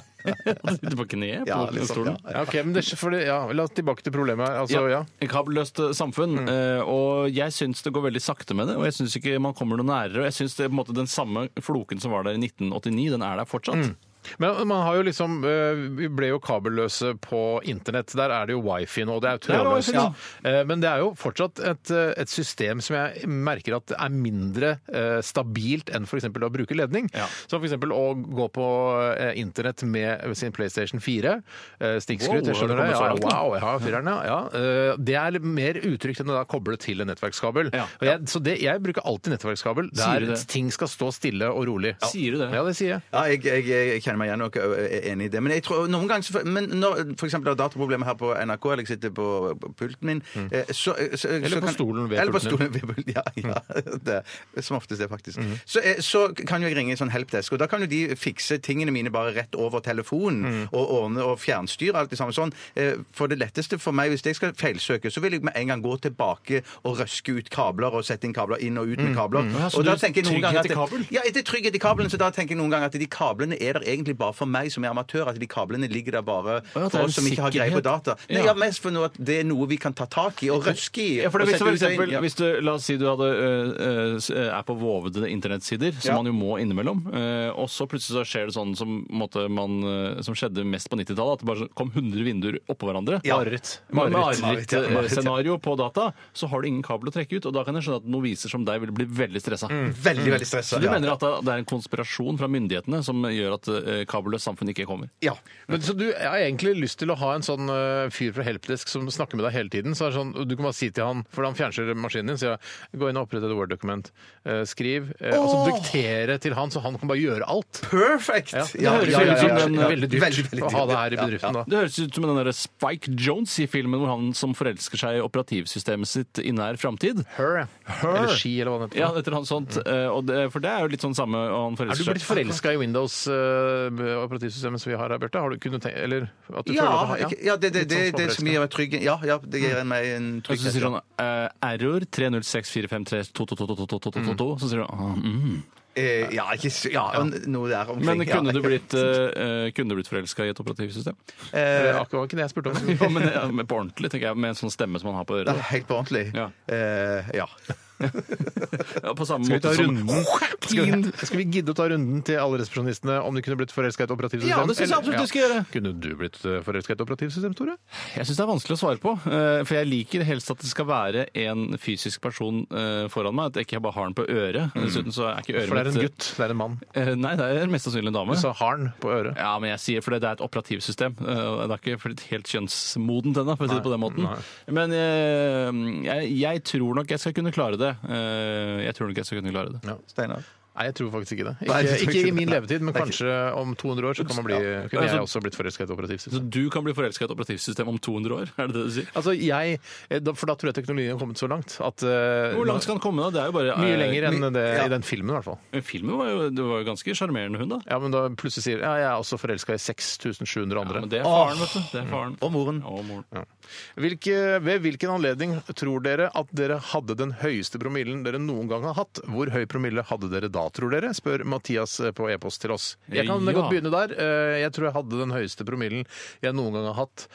fall sitter på kne på
Ja, litt sånn,
stolen.
ja.
Ja, ok, men det, for det, ja, La oss tilbake til problemet her. Altså, ja.
Et kabelløst eh, samfunn.
Mm.
eh, Og jeg syns det går veldig sakte med det, og jeg syns ikke man kommer noe nærere. Og jeg syns det er på en måte den samme floken som var der i 1989, den er der fortsatt.
Mm.
Men man har jo liksom eh, Vi ble jo kabelløse på internett. Der er det jo wifi nå. Det er jo
er
trådløst.
wifi nå.
Eh, Men det er jo fortsatt et, eh, et system som jeg merker at er mindre eh, stabilt enn f.eks. å bruke ledning.
Ja.
Som f.eks. å gå på eh, internett med sin PlayStation 4. eh, Stikkskryt,
Wow,
jeg
har du
skjønner det.
kommet så
Ja,
langt, da?
wow, jeg har fireren, ja. ja. eh, Det er litt mer utrygt enn å da koble til en nettverkskabel.
Ja.
Og jeg, så det, jeg bruker alltid nettverkskabel
du
der
det?
ting skal stå stille og rolig.
Sier du det?
Ja, det sier jeg.
Ja, jeg, jeg, jeg kjenner meg igjen og er enig i det. Men jeg tror noen ganger så- Men når for eksempel har dataproblemer her på NRK, eller jeg sitter på på pulten min eh, så, så,
Mm. Eller
så
på
kan-
stolen ved
Eller på
pulten Mm.
stolen ved pulten. Ja, ja det, er som oftest det, faktisk. Så, eh, så kan jo jeg ringe en sånn helpdesk, og da kan jo de fikse tingene mine bare rett over telefonen.
Mm.
Og ordne og fjernstyre alt det samme sånn. Eh, For det letteste for meg, hvis jeg skal feilsøke, så vil jeg med en gang gå tilbake og røske ut kabler og sette inn kabler inn og ut
Mm.
med kabler.
Ja, så
Og da
du-
tenker jeg noen ganger at
trygghet i kabel?
ja, etter trygghet i kabelen, så da tenker jeg noen ganger at de kablene er der egentlig bare for meg som er amatør, at de kablene ligger der bare
det er
for
en
oss som ikke har greie på
sikkerhet.
data. Nei, ja,
Ja.
mest for noe at det er noe vi kan ta tak i og røske i.
Ja, for
og
det, hvis,
sette
for
ut og inn.
eksempel,
Ja.
hvis du, la oss si du hadde, øh, øh, s- er på vovede internettsider, som
Ja.
man jo må innimellom, øh, og så plutselig så skjer det sånn som, på en måte, man, øh, som skjedde mest på 90-tallet, at det bare så- kom 100 vinduer oppå hverandre.
Ja.
Mareritt.
Mareritt.
Mareritt, ja, mareritt, ja.
Mareritt-scenario på data, så har du ingen kabel å trekke ut, og da kan jeg skjønne at noviser som deg vil bli veldig stressa.
Veldig, veldig
Så
stressa.
du mener at det er en konspirasjon fra myndighetene som gjør at øh, kabelløst samfunn ikke kommer?
Ja.
Men Så du jeg har egentlig lyst til å ha en sånn eh, fyr fra helpdesk som snakker med deg hele tiden. så er det sånn, Du kan bare si til han, for han fjernstyrer maskinen din, sier jeg, gå inn og opprette et Word-dokument. eh, skriv. eh, Og så diktere til han, så han kan bare gjøre alt.
Perfect!
Ja,
Ja,
det høres
ja,
jo
ja,
ut som
ja, ja.
en veldig dyrt
Veldig, veldig
å ha det her i
dyrt, ja.
bedriften da.
Det høres ut som den der Spike Jones i filmen hvor han som forelsker seg i operativsystemet sitt i nær framtid.
Her, ja.
Her.
Eller ski, eller hva det heter.
Ja, etter han sånt. eh, Og det, for det er jo litt sånn samme og han
Er du
forelsker
blitt forelska i Windows-operativsystemet som vi har her, Bjarte? Har du kunnet tenke, eller at du føler at
Ja,
han-
ikke- ja, det, det,
Litt sånn
det, det som
småforelsket.
gir meg trygghet. Ja, ja, det gir meg en
Og så
trygghet.
sier
ja.
han eh, error 3064532222222, så sier han ah, mm.
Eh, Ja, ikke s- Ja, noe der omkring.
Men
ja.
kunne du blitt, eh, eh, kunne du blitt forelska i et operativsystem?
Det
Eh,
var akkurat ikke det jeg spurte om.
Jo, men, ja, men på ordentlig, tenker jeg, med en sånn stemme som han har på
Nei,
øret.
helt på ordentlig.
Ja.
Eh, ja.
Ja, på samme
Skal vi ta
måte som-
runden? Skal vi, skal vi gidde å ta runden til alle resepsjonistene om de kunne blitt forelska i et operativsystem?
Ja, det synes jeg absolutt
Eller-
du skal gjøre.
Kunne du blitt forelska i et operativsystem, Tore?
Jeg syns det er vanskelig å svare på. eh, For jeg liker helst at det skal være en fysisk person eh, foran meg. At jeg ikke bare har den på øret. Dessuten så er ikke øret
For det er en
mitt-
gutt, det er en mann.
Eh, Nei, det er mest sannsynlig en dame.
Du sa harn på øret.
Ja, men jeg sier fordi det er et operativsystem. eh, og Det er ikke blitt helt kjønnsmodent ennå, for å si det på den måten. Men eh, jeg, jeg tror nok jeg skal kunne klare det. Eh, Jeg tror nok jeg skal kunne klare det.
Steinar.
Nei, jeg tror faktisk ikke det. Ikke,
Nei, jeg tror
ikke,
ikke
i min
det.
levetid, men kanskje om 200 år så kan man bli, kunne jeg også blitt forelska i et
Så
operativsystem.
du kan bli forelska i et operativsystem om 200 år? Er det det du sier?
Altså, jeg, da- For da tror jeg teknologien har kommet så langt at eh,
Hvor langt skal han komme? da? Det er jo bare eh,
Mye lenger enn det
ja.
i den filmen, i hvert fall.
Men Filmen var jo, det var jo ganske sjarmerende, hun, da.
Ja, Men da plutselig sier ja, jeg er også forelska i 6700
Ja,
andre.
men det er faren, vet du. Det er faren.
Og moren.
Og moren.
Hvilke, ved hvilken anledning tror dere at dere hadde den høyeste promillen dere noen gang har hatt? Hvor høy promille hadde dere da, tror dere? spør Mathias eh, på e-post til oss. Jeg kan
Ja.
godt begynne der. Eh, Jeg tror jeg hadde den høyeste promillen jeg noen gang har hatt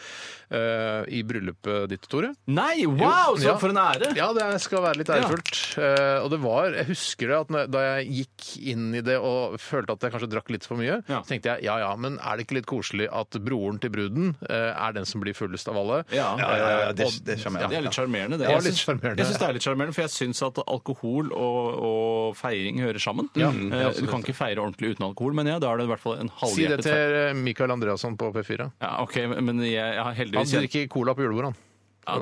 eh, i bryllupet ditt, Tore.
Nei, wow!
Jo,
Så
ja.
for en ære!
Ja, det skal være litt ærefullt. Eh, og det var, jeg husker det at når, da jeg gikk inn i det og følte at jeg kanskje drakk litt for mye,
Ja.
så tenkte jeg ja ja, men er det ikke litt koselig at broren til bruden eh, er den som blir fullest av alle?
Ja.
Ja, ja, ja, det,
Og-
det skjønner
Ja,
jeg.
det er litt sjarmerende.
Det
det.
var
Jeg
litt
syns-
sjarmerende.
Jeg syns det er litt sjarmerende, for jeg syns at alkohol og, og feiring hører sammen. Eh, du kan ikke feire ordentlig uten alkohol, men ja, da er det i hvert fall
Si
en
det
halvhjertet feiring.
til eh, Mikael Andreasson på P4.
Ja, ok, men jeg, jeg har
Han
heldigvis
drikker cola på julebordet, han.
ja,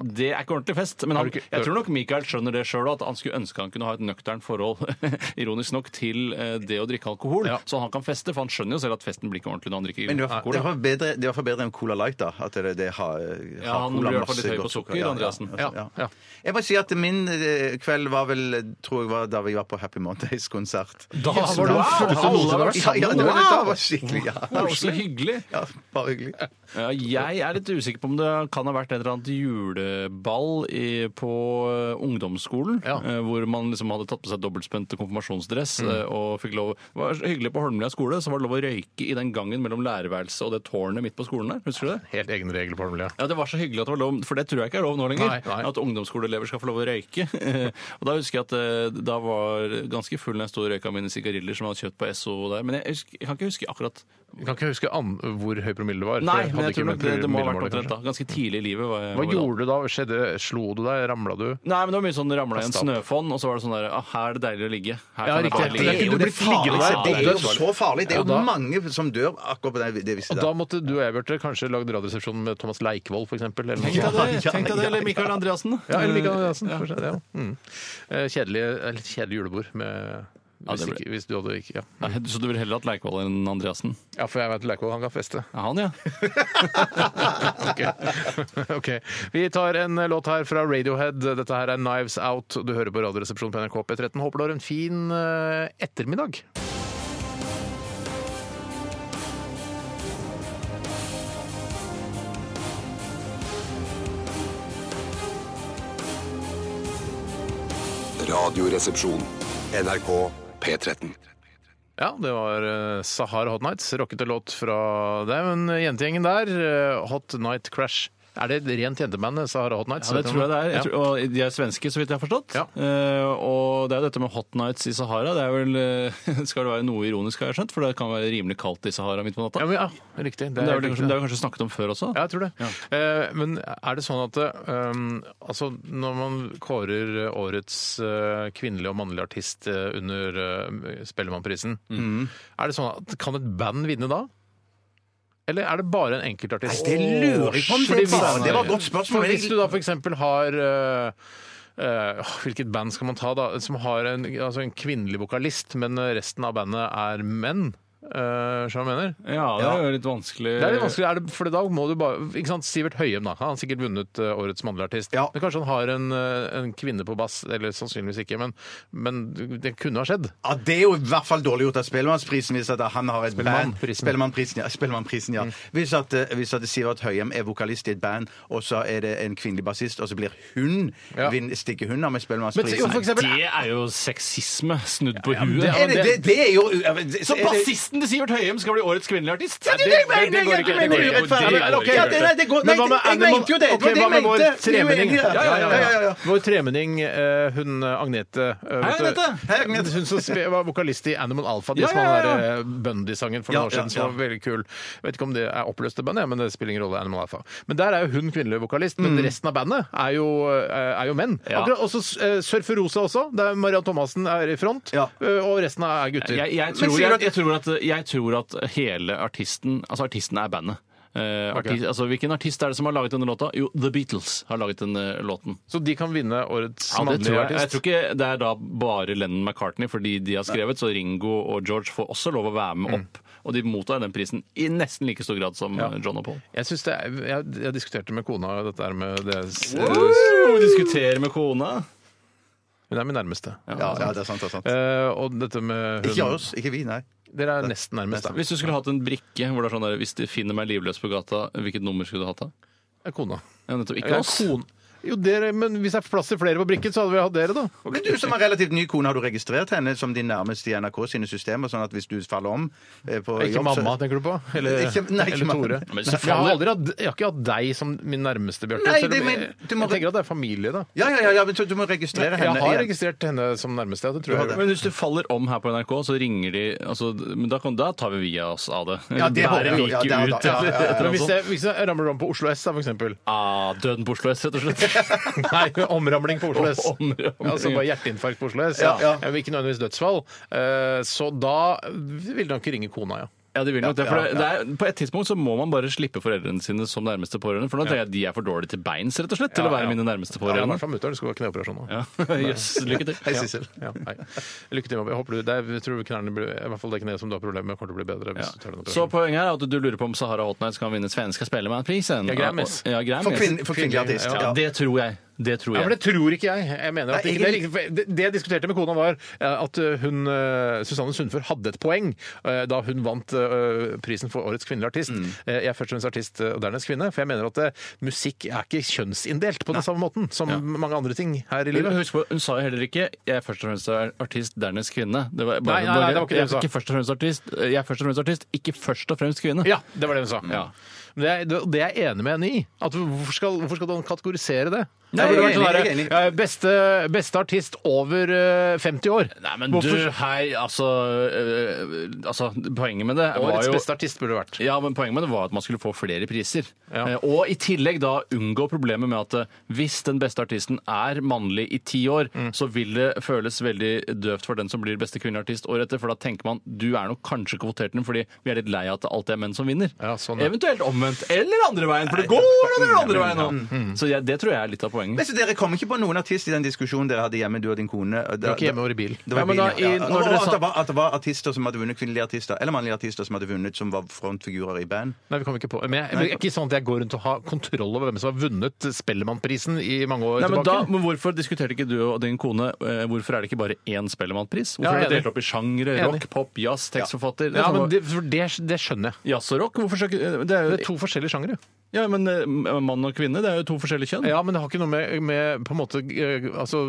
Det er ikke ordentlig fest. Men
Har
han,
du ikke-
jeg tror nok Michael skjønner det sjøl, at han skulle ønske han kunne ha et nøkternt forhold, ironisk nok, til eh, det å drikke alkohol.
Ja.
Så han kan feste, for han skjønner jo selv at festen blir ikke ordentlig når han drikker
Men det var,
alkohol.
det
da.
var bedre, det var bedre enn Cola Light, da. At det, det har,
Ja, han blir i hvert fall litt høy på sukker, Andreassen.
Ja, ja.
Jeg må si at min eh, kveld var vel tror jeg var da vi var på Happy Mondays-konsert.
Da var du
wow!
fulleste noensinne har vært.
Ja, ja,
Alle har vært
det var, det var skikkelig, ja.
Det er også hyggelig.
ja. Bare hyggelig.
Ja, jeg er litt usikker på om det kan ha vært et eller annet juleball i, på eh, ungdomsskolen,
Ja. Mm.
eh, hvor man liksom hadde tatt på seg dobbeltspent konfirmasjonsdress eh, og fikk lov Det var så hyggelig på Holmlia skole, så var det lov å røyke i den gangen mellom lærerværelset og det tårnet midt på skolen der. Husker du det?
Helt egen regel på Holmlia.
Ja, Det var så hyggelig at det var lov, for det tror jeg ikke er lov nå lenger.
Nei, nei.
At ungdomsskoleelever skal få lov å røyke. og Da husker jeg at eh, da var ganske full når jeg sto og røyka mine sigariller som jeg hadde kjøpt på SO der. Men jeg, husker, jeg kan ikke huske akkurat
Jeg kan ikke huske an hvor høy promille det var. for
Nei,
jeg
men
hadde
jeg
ikke
tror nok
med
det, det må ha vært
promillemålet, kanskje.
omtrent da. Ganske tidlig i livet. Var jeg,
Hva
var jeg da.
gjorde du da? Skjedde, slo du deg? Ramla du?
Nei, men det var mye sånn ramla i en
Kasta opp.
snøfonn, og så var det sånn der ah, Her er det deilig å ligge. Her
Ja,
kan jeg
riktig.
bare
Det er
ligge.
ikke- du
det,
blir liggende der.
farlig, det er jo
Det er
så farlig. Det er
Ja, da-
jo mange som dør akkurat på det, det visste
Og
jeg.
da måtte du og jeg, Bjarte, kanskje lagd Radioresepsjonen med Thomas Leikvoll, f.eks. Eller noe
Tenk
sånt.
deg det, tenk deg det, eller Michael Andreassen.
Ja, eller Mikael Andreassen. for seg, Ja. Mm. Eh, Kjedelig, eh, litt kjedelig julebord med hvis,
det ble-
ikke, hvis du hadde ikke ja.
Nei, Så du vil heller hatt Leikvoll enn Andreassen?
ja, for jeg vet Leikvoll han kan feste.
Ja, han, ja.
Ok. ok. Vi tar en eh, låt her fra Radiohead. Dette her er 'Knives Out'. Du hører på Radioresepsjonen på NRK P13. Håper du har en fin eh, ettermiddag.
Radioresepsjon. NRK P13.
Ja, det var eh, Sahara Hot Nights. Rockete låt fra Det er jo en jentegjengen der. eh, Hot Night Crash. Er det et rent jenteband, Sahara Hot Nights?
Ja, det
Vet du
tror jeg det
noe?
er.
Ja.
Jeg tror, og de er svenske, så vidt jeg har forstått.
Ja.
Eh, og det er jo dette med hot nights i Sahara. Det er vel, eh, skal det være noe ironisk, har jeg skjønt, for det kan være rimelig kaldt i Sahara midt på natta.
Ja, men, ja, riktig.
det, er
helt
vel
riktig.
kanskje, det har vi kanskje snakket om før også?
Ja, jeg tror det. Eh, men er det sånn at eh, altså, når man kårer årets eh, kvinnelige og mannlige artist eh, under eh, Spellemannprisen,
Mm.
er det sånn at kan et band vinne da? Eller er det bare en enkeltartist?
Nei, det lurer jeg på om det
Fordi
er bare-
hvis-
det var et godt spørsmål.
For hvis du da f.eks. har eh, eh, hvilket band skal man ta, da? Som har en, altså en kvinnelig vokalist, men resten av bandet er menn. Uh, jeg mener?
Ja, det er jo litt vanskelig.
Det er litt vanskelig, er det, for da må du bare ikke sant, Sivert Høyem, da. Han har sikkert vunnet eh, Årets mannlige artist.
Ja.
Men kanskje han har en, eh, en kvinne på bass, eller sannsynligvis ikke, men, men det kunne ha skjedd.
Ja, Det er jo i hvert fall dårlig gjort av Spellemannsprisen hvis at han har et
Spellemannprisen.
band
Mm.
Spellemannprisen, ja. Spellemannprisen, ja. Hvis, at, eh, hvis at Sivert Høyem er vokalist i et band, og så er det en kvinnelig bassist, og så blir hun
Ja.
vinn, stikker hun av
Men
med
se, jo,
Spellemannsprisen.
for eksempel-
Det er jo sexisme snudd på
men
huet.
det
Er det, det, det er jo
Så
er det-
Kjæresten til Sivert Høyem skal bli årets kvinnelige artist.
Ja, det, det, det, det går ikke. Det går ikke.
Ja, ok.
Ja, det, nei, det går, nei,
Men hva med
jeg
Animal-
mente jo det.
Ok,
det var det jeg
hva med vår
mente. Vi er
tremenning?
uenige,
Ja, ja, ja,
ja, ja.
ja. Vår tremenning, eh, hun eh, Agnete eh, vet du- Hun som spe- var vokalist i Animal Alpha, de
Ja,
som
ja,
hadde
ja.
den der, eh, Bundy-sangen for noen år siden, som var veldig kul. Jeg vet ikke om det er oppløste band, ja, men det spiller ingen rolle, Animal Alpha. Men der er jo hun kvinnelig vokalist, men resten av bandet er jo, eh, er jo menn.
Mm. Ja.
Akkurat også eh, Surfer Rosa også, der Mariann Thomassen er i front,
Ja.
eh, og resten er gutter.
Jeg, jeg, tror,
sier
jeg,
du at-
jeg, tror at, jeg tror at hele artisten Altså, artisten er bandet. Eh, artist, altså, Hvilken artist er det som har laget denne låta? Jo, The Beatles har laget denne låten.
Så de kan vinne årets
Ja, det tror
mannlige
jeg. jeg tror
artist.
ikke det er da bare Lennon McCartney, fordi de har skrevet, så Ringo og George får også lov å være
Mm.
med opp. Og de mottar den prisen i nesten like stor grad som eh, John og Paul.
Jeg, synes det er, jeg, jeg diskuterte med kona dette her med det
Diskutere med kona.
Hun er min nærmeste.
Ja, ja, det er sant. det er sant.
Eh, og dette med
Ikke
hun
oss, ikke vi, nei.
Dere er nesten nærmest, da.
Hvis du skulle hatt en brikke hvor det er sånn der, hvis de finner meg livløs på gata, hvilket nummer skulle du hatt da?
Det er kona.
Ja, nettopp.
Det
Ikke
er
oss.
kon- Jo, dere, men hvis det er plass til flere på brikken, så hadde vi hatt dere, da.
Men du som er relativt ny kone, har du registrert henne som din nærmeste i NRK sine systemer? Sånn at hvis du faller om eh, på
Ikke
jobb, så-
mamma, tenker du på? Eller,
Ikke- nei, ikke
eller
mamma.
Tore?
Men
Men
så
jeg, har aldri hatt, jeg har ikke hatt deg som min nærmeste, Bjarte.
Nei,
selv
det-
om
men-
jeg,
du må-
jeg tenker at det er familie, da.
Ja, ja, ja, ja, men du- du må registrere
Jeg
henne.
har
igjen.
registrert henne som nærmeste, ja. Det tror jeg.
Men hvis du faller om her på NRK, så ringer de altså, Men da, kan, da tar vi via oss av det.
Ja, det håper
Bærer
jeg jo. Ja,
liket
det er-
ut.
ja, ja, ja,
eller
Men
noe
hvis
sånt.
jeg, hvis jeg ramler om på Oslo S, da, for eksempel.
Ah, døden på Oslo S, rett og slett.
Nei, omramling på Oslo S.
Omramling.
Altså bare hjerteinfarkt på Oslo S.
Ja, ja.
Jeg vil Ikke nødvendigvis dødsfall. Eh, Så da ville han ikke ringe kona, ja.
Ja, de vil nok det. For det- det er, på et tidspunkt så må man bare slippe foreldrene sine som nærmeste pårørende. For nå tenker jeg at de er for dårlige til beins, rett og slett, til
Ja,
å være
ja.
mine
Ja, I
nærmeste
hvert
pårørende.
fall mutter'n skulle ha kneoperasjon nå.
Ja, Jøss. Lykke til.
Hei, Sissel.
Ja, hei. Lykke til. Mabel. Jeg håper du, det er, jeg tror knærne blir, i hvert fall det kneet som du har problemer med, kommer til å bli bedre. hvis
Ja.
du tar den
Så
operasjonen.
poenget er at du lurer på om Sahara Hotnights kan vinne Svenska Spellemannprisen.
Ja, Grammis.
Ja, Grammis.
For, kvinn, for kvinnelig artist.
Ja,
Ja.
det tror jeg. Det tror
Ja,
jeg.
men Det tror ikke jeg. jeg mener at
Nei,
det, ikke, det, er riktig, for det, det jeg diskuterte med kona, var eh, at eh, hun, eh, Susanne Sundfør hadde et poeng eh, da hun vant eh, prisen for Årets kvinnelige artist. Eh, Jeg er først og fremst artist eh, og dernest kvinne, for jeg mener at eh, musikk er ikke kjønnsinndelt på den samme måten som mange andre ting her i livet.
Husk på, hun sa jo heller ikke 'jeg er først og fremst artist, dernest kvinne'. Det var
Nei, nei, nei, det var ikke det hun sa.
Jeg er ikke først og fremst artist, jeg er først og fremst artist, ikke først og fremst kvinne.
Ja, det var det hun sa.
Ja.
Men Det, er, det- det er jeg enig med henne i. At hvorfor, skal, hvorfor skal man kategorisere det?
Nei,
Det burde
jeg er
vært sånn der,
enig, jeg er enig.
eh, Beste, beste artist over eh, 50 år.
Nei, men
Hvorfor-
du, hei, altså, øh, altså Poenget med det var
Årets
jo
beste artist burde det vært.
ja, men poenget med det var at man skulle få flere priser.
Ja.
Eh, Og i tillegg da unngå problemet med at eh, hvis den beste artisten er mannlig i ti år, så vil det føles veldig døvt for den som blir beste kvinnelige artist året etter. For da tenker man du er nok kanskje kvotert den fordi vi er litt lei av at det alltid er menn som vinner.
Ja, sånn, ja.
Eventuelt omvendt. Eller andre veien, for det går den andre veien nå! Så jeg, det tror jeg er litt av
Men
poenget.
så Dere kom ikke på noen artist i den diskusjonen dere hadde hjemme, du og din kone.
Du var ikke hjemme, var i bil.
Det var
Ja, men da,
bilen, ja,
i-
ja.
når
Og
dere
at,
sa-
det var, at det var artister som hadde vunnet kvinnelige artister, eller mannlige artister som hadde vunnet, som var frontfigurer i band.
Nei, vi kom ikke på Men jeg, det er ikke sånn at jeg går rundt og har kontroll over hvem som har vunnet Spellemannprisen i mange år
Nei, men, da,
tilbake.
men Hvorfor diskuterte ikke du og din kone eh, Hvorfor er det ikke bare én Spellemannpris? Hvorfor
Ja,
er det
enig.
delt opp i sjangre?
Enig.
Rock, pop, jazz, tekstforfatter? Det er
ja,
sånn-
men det, for det, det skjønner jeg.
Jazz og rock? Hvorfor skal ikke det er
Det er
jo,
to forskjellige sjangere.
Ja, men eh, mann og kvinne, det er jo to forskjellige kjønn.
Ja, men det har ikke noe med, med på en måte eh, Altså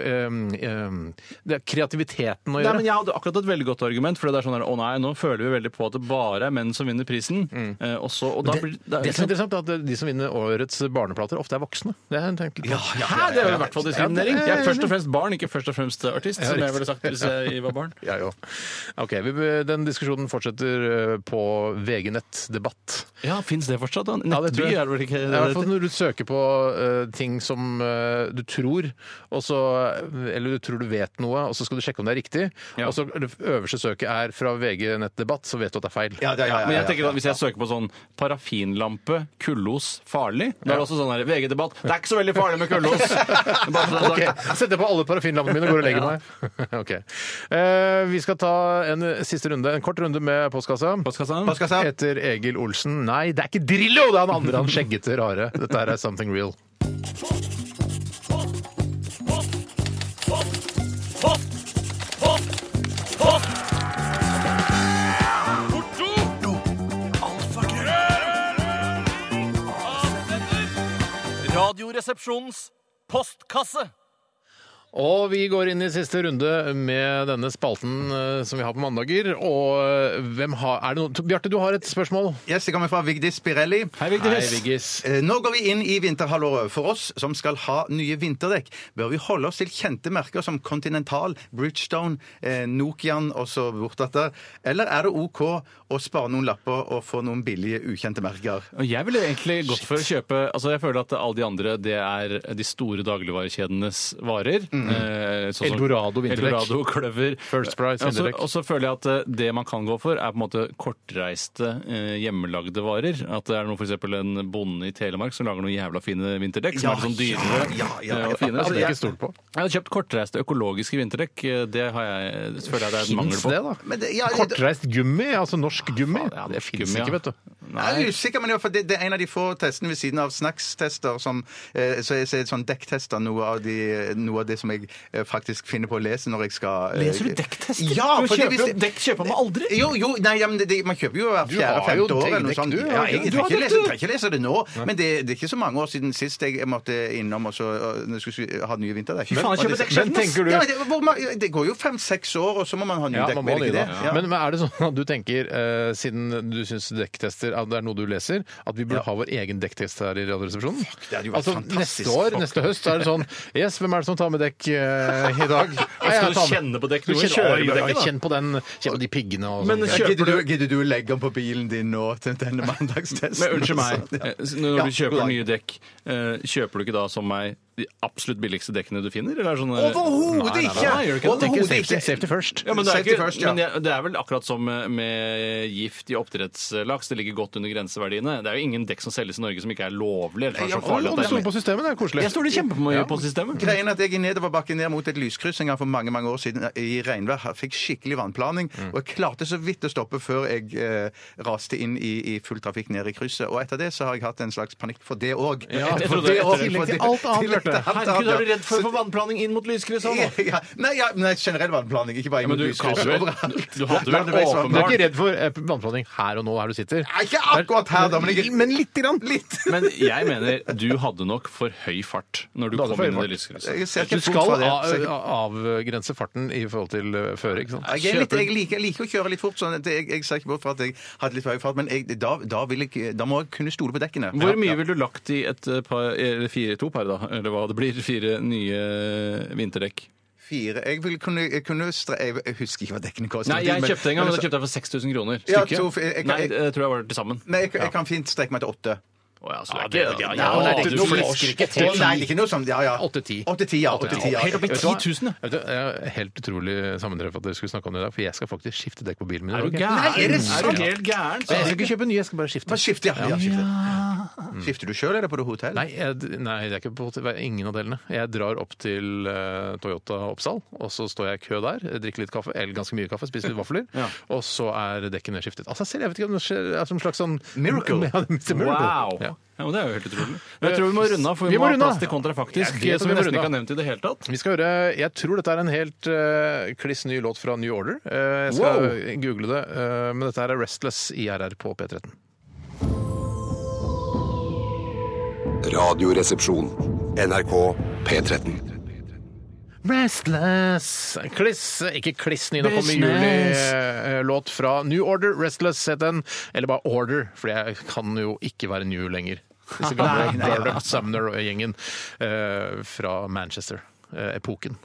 eh, eh, Det er kreativiteten å
Nei,
gjøre.
men Jeg hadde akkurat et veldig godt argument. For det er sånn her, å nei, Nå føler vi veldig på at det bare er menn som vinner prisen. Eh, og så, og da blir, liksom- da,
Mm. det som er sånn- interessant, er at de som vinner årets barneplater, ofte er voksne. Det har jeg tenkt litt på.
Hæ, det er jo i hvert fall diskriminering!
Ja, det er
Jeg er
jeg
først og fremst barn, ikke først og fremst artist. som jeg ville sagt hvis jeg var barn.
Ja, jo. Ok, vi, Den diskusjonen fortsetter eh, på VG-nett debatt.
Ja, Fins det fortsatt? da?
Ja, det tror
Nettby
jeg.
er det vel ikke
Det er i hvert fall når du søker på eh, ting som eh, du tror, og så, eh, eller du tror du vet noe, og så skal du sjekke om det er riktig,
Ja.
og så det øverste søket er fra VG Nettdebatt, så vet du at det er feil.
Ja, det- ja, ja,
Men
ja,
jeg tenker
ja.
da, hvis jeg søker på sånn parafinlampe, kullos, farlig Da er det også sånn her VG-debatt. Det er ikke så veldig farlig med kullos! Bare sånn,
Ok, Setter på alle parafinlampene mine og går og legger meg. Ok. Eh, vi skal ta en siste runde, en kort runde med postkassa.
Postkassa.
Postkassa.
Etter Egil Olsen. Nei, det er ikke Drillo! Det er han andre, han skjeggete rare. Dette her er Something Real.
Radioresepsjonens postkasse.
Og vi går inn i siste runde med denne spalten eh, som vi har på mandager. Og eh, hvem har Er det noen T- Bjarte, du har et spørsmål.
Yes, det kommer fra Vigdis Spirelli.
Hei,
Hei,
Vigdis.
Viggis.
Eh, Nå går vi inn i vinterhalvåret. For oss som skal ha nye vinterdekk, bør vi holde oss til kjente merker som Continental, Bridgestone, eh, Nokian osv. Eller er det OK å spare noen lapper og få noen billige, ukjente merker?
Og Jeg ville egentlig gått for å kjøpe altså Jeg føler at alle de andre det er de store dagligvarekjedenes varer. Eh, sånn som-
Mm. Eldorado vinterdekk.
Eldorado, Kløver.
First Price
Og så-
vinterdekk.
Og så føler jeg at eh, det man kan gå for, er på en måte kortreiste, eh, hjemmelagde varer. At det er noe f.eks. en bonde i Telemark som lager noen jævla fine vinterdekk som er litt sånn dyrere.
Ja, ja,
eh,
ja,
og fine.
Det hadde
Så jeg,
Altså, jeg ikke stolt på.
jeg hadde kjøpt kortreiste økologiske vinterdekk. Eh, Det har jeg, det føler jeg det er en mangel
Fins
på.
det, da?
Men det- ja,
Kortreist gummi? Altså norsk gummi?
faen, ja,
det
norsk
fins
gummi, ja.
ikke, vet du.
Jeg er usikker, men i hvert fall det, det er en av de få testene ved siden av snackstester som eh, så jeg ser sånn dekktester, noe av, de, noe av det som jeg eh, faktisk finner på å lese når jeg skal eh,
Leser du dekktester?
Ja,
Du
fordi
kjøper
hvis
jo- dekk kjøper man aldri.
Jo, jo, nei, ja, men det, det, man kjøper jo hver
Du
fjerde,
har jo
femte år
dekk,
eller noe sånt.
du, har
ja,
ikke det?
jeg jeg
Du har dekk,
trenger ikke lese- trenger ikke lese det nå, men det, det er ikke så mange år siden sist jeg måtte innom og så og- når jeg skulle ha nye vinterdekk.
Fy faen, jeg kjøper
Og det-
dekksjelden,
ass. tenker du?
Ja, men det, hvor man- det går jo fem-seks år, og så må man ha nye
Ja,
dekk.
man må
vel ikke
det, da.
det?
Ja. Men men er det sånn at du tenker, eh, siden du syns dekktester at det er noe du leser, at vi burde ha vår egen dekktest her i Radioresepsjonen?
det hadde jo vært
Altså,
fantastisk.
neste år,
Fuck.
neste høst, så er det sånn Yes, hvem er det som tar med dekk eh, i dag? Nei,
Skal
jeg tar
du
med-
kjenne på dekk?
Du
Du må
kjenner-
kjøre
Oi, oi,
med
oi,
dekket, da.
Kjenn på den, kjenn på de piggene og
Men
sånn.
kjøper
Gidder du, gidder du legge den på bilen din nå til denne mandagstesten?
Men unnskyld meg,
Ja.
eh, når
Ja,
du kjøper
god dag.
nye dekk, eh, kjøper du ikke da som meg de absolutt billigste dekkene du finner? Eller er det sånn, eh,
Overhodet
Nei, nei,
ikke!
nei, nei, gjør du ikke det?
Overhodet
Tenker safety,
ikke.
safety first.
Ja, men det, er
Safety
ikke,
first, eh, ja.
men jeg- det er vel akkurat som med, med gift i oppdrettslaks. Det ligger godt under grenseverdiene. Det er jo ingen dekk som selges i Norge som ikke er lovlig. Eller som er så farlig
Å,
at
du
det er
stoler på systemet, det er koselig.
jeg står det kjempemye på systemet.
Greien er at jeg i nedoverbakken ned mot et lyskryss en gang for mange mange år siden i regnvær her fikk skikkelig vannplaning,
Mm.
og jeg klarte så vidt å stoppe før jeg eh, raste inn i, i full trafikk ned i krysset. Og etter det så har jeg hatt en slags panikk for det òg.
Ja, jeg
For
trodde- jeg
også,
trodde-
til
for det-
alt annet,
tillegg
Bjarte.
til alt
Herregud,
annet,
er du
ja.
redd for å
Så-
få vannplaning inn mot lyskrysset nå?
ja, nei, ja, nei, generell vannplaning, ikke bare mot
men du kan
lyskryss.
vel-
Overalt.
du hadde vel
Du er
Landeveis
åpenbart-
vannplaning.
ikke redd for eh, vannplaning her og nå, her du sitter?
Nei, Ikke akkurat her, da, men jeg
Men lite grann.
Men jeg mener du hadde nok for høy fart når du
Du hadde
kom
for høy
inn i
fart.
det lyskrysset.
Jeg ser
Du
ikke bort
skal
fra det. Ser
a-
ikke-
a- avgrense farten i forhold til eh, føre, ikke sant?
Jeg, er litt,
Kjøper-
jeg, liker, jeg liker å kjøre litt fort. Sånn at jeg, jeg ser ikke bort fra at jeg hadde litt høy fart, men jeg, da, da, vil jeg, da må jeg kunne stole på dekkene.
Hvor mye ville du lagt i et eh, par, eller fire, to par, da? Eller hva det blir? Fire nye vinterdekk?
Fire. Jeg vil kunne, jeg kunne stre... Jeg husker ikke hva dekkene koster.
Nei, jeg
men-
kjøpte en gang,
men
men da
så-
kjøpte jeg for 6000 kroner
Ja,
stykket.
to- jeg- jeg-
Nei, det tror jeg var til sammen.
Nei, jeg, jeg kan fint strekke meg til åtte.
Å, ja, så
det- ja, ja,
Å,
nei,
det er
du
ikke noe-
flisker ikke til.
Å, Nei, det er ikke noe sånn. Ja, ja.
Åtte-ti.
Åtte-ti, ja. Åtte-ti, ja.
Helt opp i
Vet du hva?
10 000, ja.
Vet du, jeg er Helt utrolig sammentreff at dere skulle snakke om det i dag, for jeg skal faktisk skifte dekk på bilen min. i
Er du
dag.
gæren?
Nei, er det sant?
du helt gæren?
Jeg skal ikke kjøpe nye, jeg skal bare skifte.
Hva skifter jeg? Ja, skifter. skifter du sjøl, eller på det hotell?
Nei, jeg, nei, det er ikke på hotell. Ingen av delene. Jeg drar opp til eh, Toyota Oppsal, og så står jeg i kø der, drikker litt kaffe, eller ganske mye kaffe, spiser litt vafler, og så er dekkene skiftet. Altså selv, jeg vet ikke om det skjer, er som en slags sånn Ja, det er Mr. Miracle.
Miracle.
Wow! Ja.
Ja.
men Det er jo helt utrolig. Men jeg tror vi må runde av, for vi,
Vi må
må ha
runde av.
plass til kontrafaktisk.
Ja,
Det som
vi må
vi nesten
runde
ikke
av.
har nevnt i det hele tatt.
Vi skal høre, Jeg tror dette er en helt eh, kliss ny låt fra New Order. Eh, jeg skal google det, eh, men dette her er Restless i RR på P13.
Radioresepsjon. NRK P13.
Restless Kliss, ikke kliss, Nina kom i juli. eh, Låt fra New Order, Restless het den. Eller bare Order, for jeg kan jo ikke være new lenger. Disse gamle Burnham Sumner-gjengen eh, fra Manchester-epoken.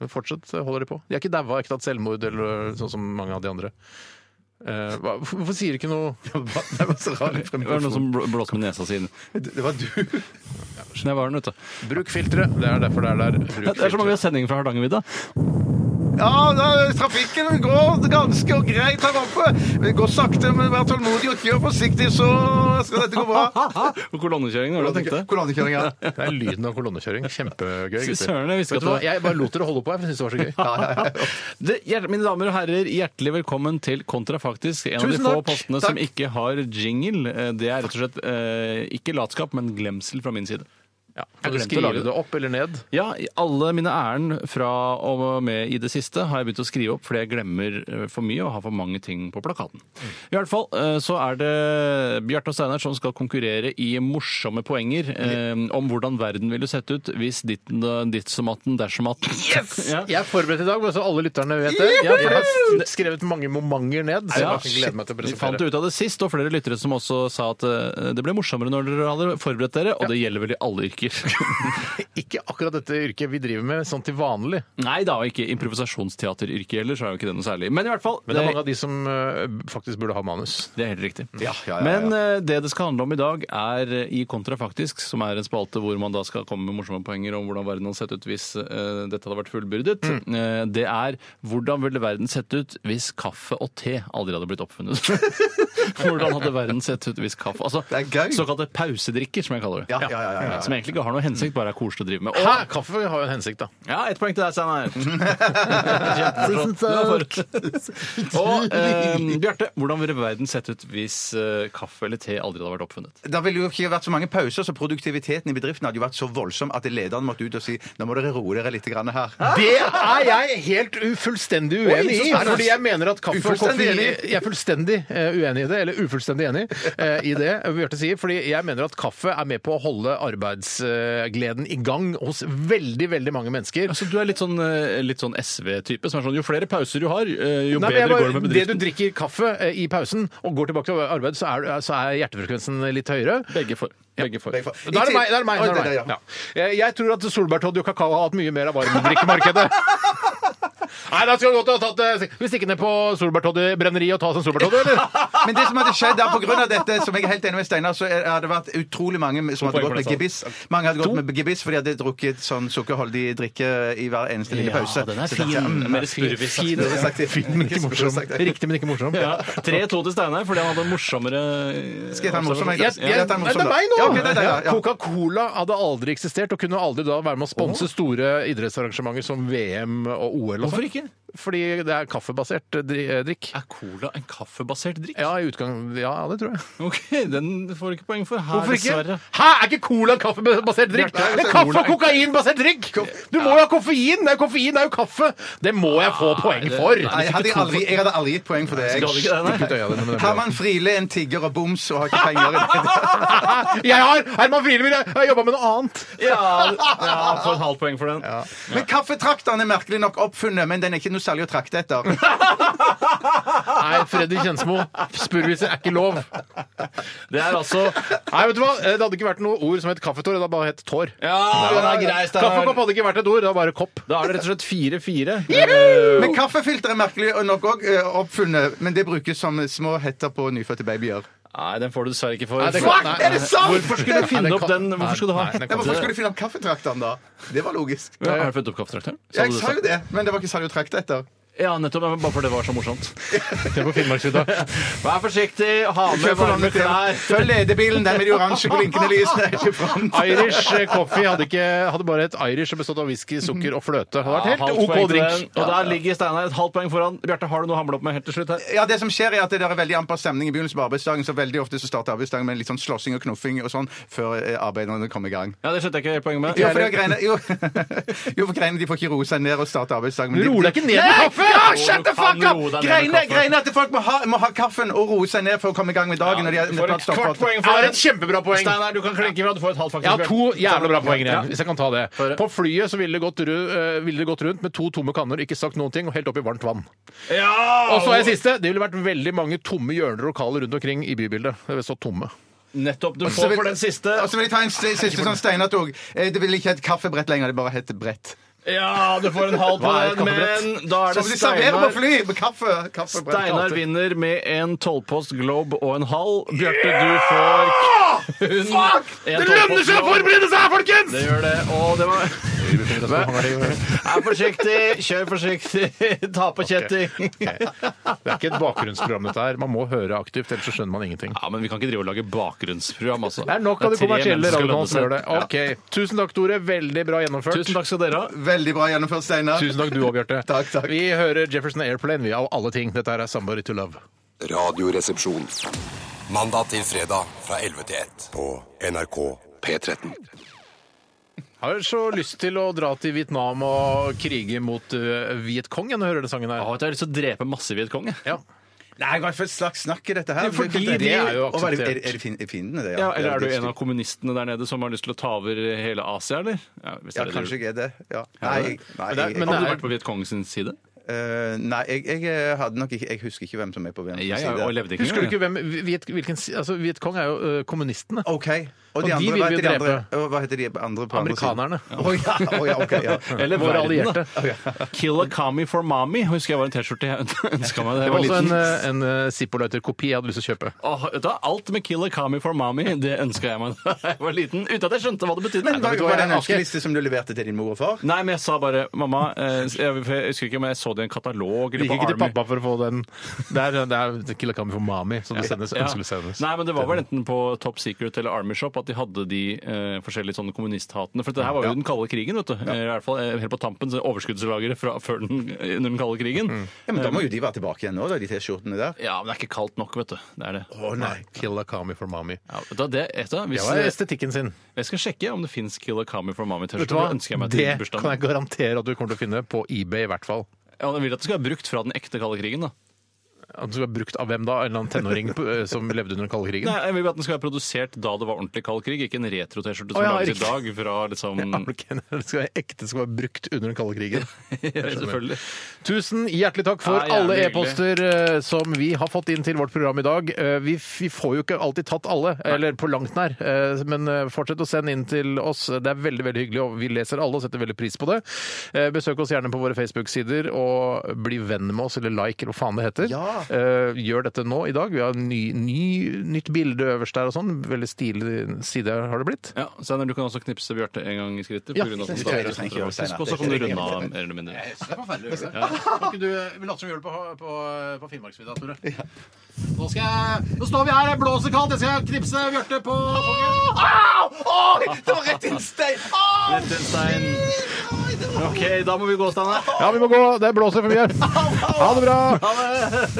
Men Fortsatt holder de på. De er ikke daua, ikke tatt selvmord eller sånn som mange av de andre. Eh, hva, hvorfor sier de ikke noe
Det var så rar
Det var noen
informasjon.
som blå- blåste med nesa si.
Det var du.
Det var den, vet du.
Bruk filtre! Det er derfor det er der. Bruk
Det er så mange
filtre.
sendinger fra Hardangervidda.
Ja, da, trafikken går ganske og greit her oppe. Gå sakte, men vær tålmodig og kjør forsiktig, så skal dette gå bra.
Kolonnekjøringen, var det du tenkte?
Kolonnekjøringa. Ja,
Det er lyden av kolonnekjøring. Kjempegøy.
Fy
gutter.
søren, jeg visste
Vet du
ikke
hva?
at det-
Jeg bare lot dere holde på her, for jeg syntes det var så gøy.
ja, ja.
Det, hjer- mine damer og herrer, hjertelig velkommen til Kontrafaktisk. En
Tusen
av de få
takk.
postene
Takk.
som ikke har jingle. Eh, Det er rett og slett eh, ikke latskap, men glemsel fra min side.
Ja,
Ja.
Har du skrevet det opp eller ned?
Ja, i alle mine ærend fra og med i det siste har jeg begynt å skrive opp fordi jeg glemmer eh, for mye og har for mange ting på plakaten. I hvert fall eh, så er det Bjarte og Steinar som skal konkurrere i morsomme poenger eh, om hvordan verden ville sett ut hvis ditten, som atten, dersom atten ja.
Jeg er forberedt i dag, bare så alle lytterne vet det. Jeg har skrevet mange momenter ned. Så
Ja,
jeg gleder meg til å
Vi fant
presentere.
ut av det sist, og flere lyttere som også sa at eh, det ble morsommere når dere hadde forberedt dere, og det gjelder vel i alle yrker.
Ikke akkurat dette yrket vi driver med sånn til vanlig.
Nei da, og ikke improvisasjonsteateryrket heller, så er jo ikke det noe særlig. Men i hvert fall
Men det er mange av de som eh, faktisk burde ha manus.
det er helt riktig.
ja, ja,
Men eh, det det skal handle om i dag, er eh, i Kontrafaktisk, som er en spalte hvor man da skal komme med morsomme poenger om hvordan verden hadde sett ut hvis eh, dette hadde vært fullbyrdet.
Mm.
Eh, det er hvordan ville verden sett ut hvis kaffe og te aldri hadde blitt oppfunnet? hvordan hadde verden sett ut hvis kaffe Altså
Det er gøy.
såkalte pausedrikker, som jeg kaller det.
Ja, ja, ja, ja, ja.
Som egentlig ikke har noe hensikt, bare er koselig å drive med.
Hæ?
Og,
Kaffe har jo en hensikt, da.
ja, ett poeng til deg, Steinar. Kjempebra. Du er for. Og eh, Bjarte, hvordan ville verden sett ut hvis eh, kaffe eller te aldri hadde vært oppfunnet?
Det ville jo ikke vært så mange pauser, så produktiviteten i bedriften hadde jo vært så voldsom at lederen måtte ut og si nå må dere roe dere litt grann her.
Det er jeg helt u- fullstendig uenig
Oi, så
i!
spennende.
Fordi jeg mener at kaffe og
Ufullstendig
koffein
enig.
Jeg er fullstendig eh, uenig i det, eller ufullstendig enig eh, i det Bjarte sier. Fordi jeg mener at kaffe er med på å holde arbeidsgleden i gang hos veldig, veldig mange mennesker.
Altså, du er litt sånn, eh, litt sånn SV-type, som er sånn jo flere pauser du har, eh, jo
Nei, men jeg
bedre
bare-
går det med
det du
bedriften.
drikker kaffe eh, i pausen og går tilbake til arbeid, så er, du- så er hjertefrekvensen litt høyere.
Begge for. Begge for.
Begge for.
Da er det meg! da er det meg,
Oi,
da er
det
det
er
meg.
det,
Ja. Jeg- Jeg tror at solbærtodd og kakao har hatt mye mer av varmdrikkemarkedet. Nei, da skal du godt ha tatt eh, Skal vi stikke ned på solbærtoddbrenneriet og ta oss en solbærtodd, eller?
Men det som hadde skjedd der, på grunn av dette, som jeg er helt enig med Steinar, så er- hadde det vært utrolig mange som hadde
poeng
gått
for
med
deg,
gebiss. Mange hadde gått med gebiss fordi de hadde drukket sånn sukkerholdig drikke i hver eneste lille pause.
Ja, den er
Så
fin.
tenkte jeg, mm,
Mer spurvis.
fin, det hadde jeg sagt.
Fin, men ikke morsom.
Skulle jeg sagt det.
Riktig, men ikke morsom.
Ja. 3-2 til Steinar, fordi han hadde en morsommere eh,
Skal jeg ta en morsom? jeg?
Jeg,
Ja,
jeg,
jeg tar en
nei,
morsom
det er
da.
meg nå!
Ja, ok, det er deg, ja, ja.
Coca-Cola hadde aldri eksistert og kunne aldri da være med å sponse store idrettsarrangementer som VM og OL. Og sånt.
Hvorfor ikke?
Fordi det er kaffebasert dri- eh, drikk.
Er cola en kaffebasert drikk?
Ja, i utgang... Ja, det tror jeg.
Ok, den får du ikke poeng for her,
Hvorfor ikke?
dessverre.
Hæ, er ikke cola en kaffebasert drikk?
Bjarte,
Det er kaffe og kokainbasert drikk! Du må jo ha koffein! Nei, koffein er jo kaffe! Det må jeg få poeng for!
Nei, jeg, hadde aldri, jeg hadde aldri gitt poeng for det.
Skal
Jeg.
du ikke det, nei?
Kutt øya dine med den bladen.
Herman Friele, en tigger og boms og har ikke penger.
Jeg har Herman Friele, jeg har jobba med noe annet!
Ja, ja, få et halvt poeng for den.
Men kaffetrakteren er merkelig nok oppfunnet, men den er ikke noe særlig å trakte etter.
Nei, Freddy Kjensmo, spurviser er ikke lov.
Det er altså
Nei, vet du hva? Eh, Det hadde ikke vært noe ord som het kaffetår, det hadde bare hett tår.
Ja,
Ah!
den er grei, Steinar.
Kaffekopp hadde ikke vært et ord, det var bare kopp.
Da er det rett og slett 4-4.
Men kaffefilter er merkelig og nok òg oppfunnet, men det brukes som små hetter på nyfødte babyer.
Nei, den får du dessverre ikke for.
Nei, det-
Fuck!
nei,
Er det sant?!
Hvorfor skulle du finne
Nei,
opp
kan-
den? Hvorfor skulle du ha
Nei, den
Ja,
kan-
hvorfor skulle du finne opp kaffetrakteren, da? Det var logisk.
Ja, Er du født opp kaffetrakteren?
Ja, jeg sa jo det, men det var ikke særlig å trakte etter.
Ja, nettopp. men Bare fordi det var så morsomt.
Se på Finnmarksvidda.
Vær forsiktig, ha
Kjør
med
for landet
varme
til.
klær.
Følg ledebilen, den med de oransje blinkende lysene. er ikke front.
Irish eh, coffee hadde, ikke, hadde bare et Irish som bestod av whisky, sukker og fløte. Det hadde
Ja,
vært
halvt
helt
poeng
OK
til den.
drink.
Og der ligger Steinar et halvt poeng foran. Bjarte, har du noe å hamle opp med helt til slutt her?
Ja, det som skjer er at Det der er veldig amper stemning i begynnelsen på arbeidsdagen, så veldig ofte så starter arbeidsdagen med litt sånn slåssing og knuffing og sånn før eh, arbeiderne kommer i gang.
Ja, det skjønte jeg ikke helt poenget med.
Jo, for, det er greiene, jo, jo, for greiene de får ikke roe seg ned og starte arbeidsdagen. men
Du
de-
roer deg ikke ned med
Nei!
kaffe! Jo,
Ja,
du
shut the
kan
fuck up!
roe deg ned med
Greiene,
kaffe.
greiene er at folk må ha, må ha kaffen og roe seg ned for å komme i gang med dagen. når de har
Får et
stopper.
kvart poeng
Jeg har
for
et kjempebra poeng.
Steinar, du kan klinke med at du får et halvt, faktisk.
Jeg har to jævla bra poeng,
Ja.
igjen, hvis jeg kan ta det.
Få høre.
På flyet så ville det gått, ru- eh, ville det gått rundt med to tomme kanner, ikke sagt noen ting, og helt opp i varmt vann.
Ja!
Og så er det siste. Det ville vært veldig mange tomme hjørner og lokaler rundt omkring i bybildet. Det ville stått tomme.
Nettopp. Du
Altså,
Så
får
vil-
for den siste.
Og så vil jeg ta en s- siste sånn steinete òg. Det vil ikke hete kaffebrett lenger, det bare heter brett.
Ja, du får en halv på
Hva er et
den, men da er
Som
det
de serverer på
Steinar.
fly! Med kaffe. kaffebrett.
Steinar vinner med en tolvpost globe og en halv. Bjarte, du får kun en tolvpost globe.
forberede seg, folkens!
Det gjør det. Og det var Vær forsiktig, kjør forsiktig, ta på kjetting.
Det er ikke et bakgrunnsprogram, dette her. Man må høre aktivt, ellers så skjønner man ingenting.
Ja, men vi kan ikke drive og lage bakgrunnsprogram, altså.
Det er nok av de
tre menn
kommersielle
som skal lønne
radiokanalene som gjør det.
seg.
Ok, Tusen takk, Tore. Veldig bra
Ja.
gjennomført.
Tusen takk skal dere ha.
Veldig bra gjennomført, Steinar.
Tusen takk du òg, Bjarte.
Takk, takk.
Vi hører Jefferson Airplane, vi, av alle ting. Dette her er Somebody to Love.
Radioresepsjon.
Mandag til fredag fra 11 til 1.
På NRK P13.
Har så lyst til å dra til Vietnam og krige mot uh, Vietcong når jeg hører den sangen
Jeg
her.
har lyst til å drepe masse Vietcong. jeg.
Ja.
Nei, hva slags slags snakk er dette her?
Ja, fordi
er
det er jo
Å, hva
akseptert.
Er, er det fin- er fiendene, det?
Ja, eller er du
det-
en av kommunistene der nede som har lyst til å ta over hele Asia, eller? Ja,
Ja,
hvis det er det du-
kanskje jeg er det. Ja. Nei,
Er det
jeg,
det?
nei,
Men det er- men
jeg,
det
jeg,
Hadde du
er-
vært på Vietcong sin side?
eh, nei jeg, jeg hadde nok ikke Jeg husker ikke hvem som er på Venstresiden.
Jeg, jeg, og levde ikke
Husker du
engang.
ikke hvem Viet, hvilken, si- altså, Vietcong er jo uh, kommunistene.
OK.
Og de
andre,
vil
hva
vi
heter de andre?
drepe.
Å, Hva heter de andre på andre siden?
Amerikanerne.
Å ja, å ja, ok. Ja.
Eller
Våre
verden,
allierte.
da. Kill a kami for mommy, husker jeg var en T-skjorte jeg ønska meg da
Det
jeg
var
var
også en,
liten.
uh, en uh, Zippo-lighter-kopi jeg hadde lyst til å kjøpe.
Åh, vet du hva? alt med Kill a kami for mommy, det ønska jeg meg da jeg var liten. Uten at jeg skjønte hva det betydde.
Men hva
Nei,
var den
jeg har ikke-
ønskeliste som du leverte til din mor og far?
Nei, men jeg sa bare mamma eh, jeg, for jeg husker ikke om jeg så det i en katalog eller
Gikk
på
ikke til
Army.
pappa for å få den. Det er, det er Killa Kami for Mami som det sendes,
Ja.
ønskelig sendes.
Nei, men Det var vel enten på Top Secret eller Army Shop at de hadde de eh, forskjellige sånne kommunisthatene. For det her var jo den kalde krigen, vet du. Eh, I hvert fall eh, helt på tampen. så Overskuddslageret fra før den, under den kalde krigen.
Mm.
Ja, men Da må jo de være tilbake igjen nå, da, de T-skjortene der.
Ja, men det er ikke kaldt nok, vet du. Det er det.
Å nei.
Killa Kami for Mami.
Ja, vet du, hva, det, vet du, hva,
Det
hvis, eh,
var estetikken sin.
jeg skal sjekke om det fins Kill Akami for Mami
Vet du hva?
T-skjorte. ønsker jeg meg til
Det
bursdagen.
kan jeg garantere at du kommer til å finne på eBay, i hvert fall.
Ja, jeg vil at det skal være brukt fra den ekte kalde krigen, da.
At du skal ha brukt av hvem da? En eller annen tenåring på- eh, som levde under den kalde krigen?
Nei, jeg vil at den skal være produsert da det var ordentlig kald krig, ikke en retro-T-skjorte som
Å, ja,
lages i dag
riktig.
fra liksom
Ja, ok, Det skal være ekte, det skal være brukt under den kalde krigen. Jeg skjønner.
Selvfølgelig.
Tusen hjertelig takk for
Ja, jævlig
alle
hyggelig.
e-poster eh, som vi har fått inn til vårt program i dag. Eh, Vi, f- vi får jo ikke alltid tatt alle, eller på langt nær, eh, men eh, fortsett å sende inn til oss. Det er veldig veldig hyggelig, og vi leser alle og setter veldig pris på det. Eh, Besøk oss gjerne på våre Facebook-sider, og bli venn med oss, eller like, eller hva faen det heter.
Ja.
Eh, Gjør dette nå i dag. Vi har en ny, ny, nytt bilde øverst der og sånn. Veldig stilig side har det blitt.
Ja, Steinar, du kan også knipse Bjarte en gang i skrittet.
Ja,
på grunn av at
det
den
tror jeg
starter
du trenger å gjøre,
sånn
Steinar.
dramatisk, Og så kan du runde av mer eller mindre.
Det er forferdelig å gjøre det. Kan ikke du late som vi gjør det på, på, på Finnmarksvidda, Tore? Nå, skal jeg, nå står vi her, det blåser kaldt, jeg skal knipse Bjarte på
Det var rett inn stein! Ah!
Rett en stein. OK, da må vi gå, Steinar.
Ja, vi må gå. Det blåser for mye. Ha det bra.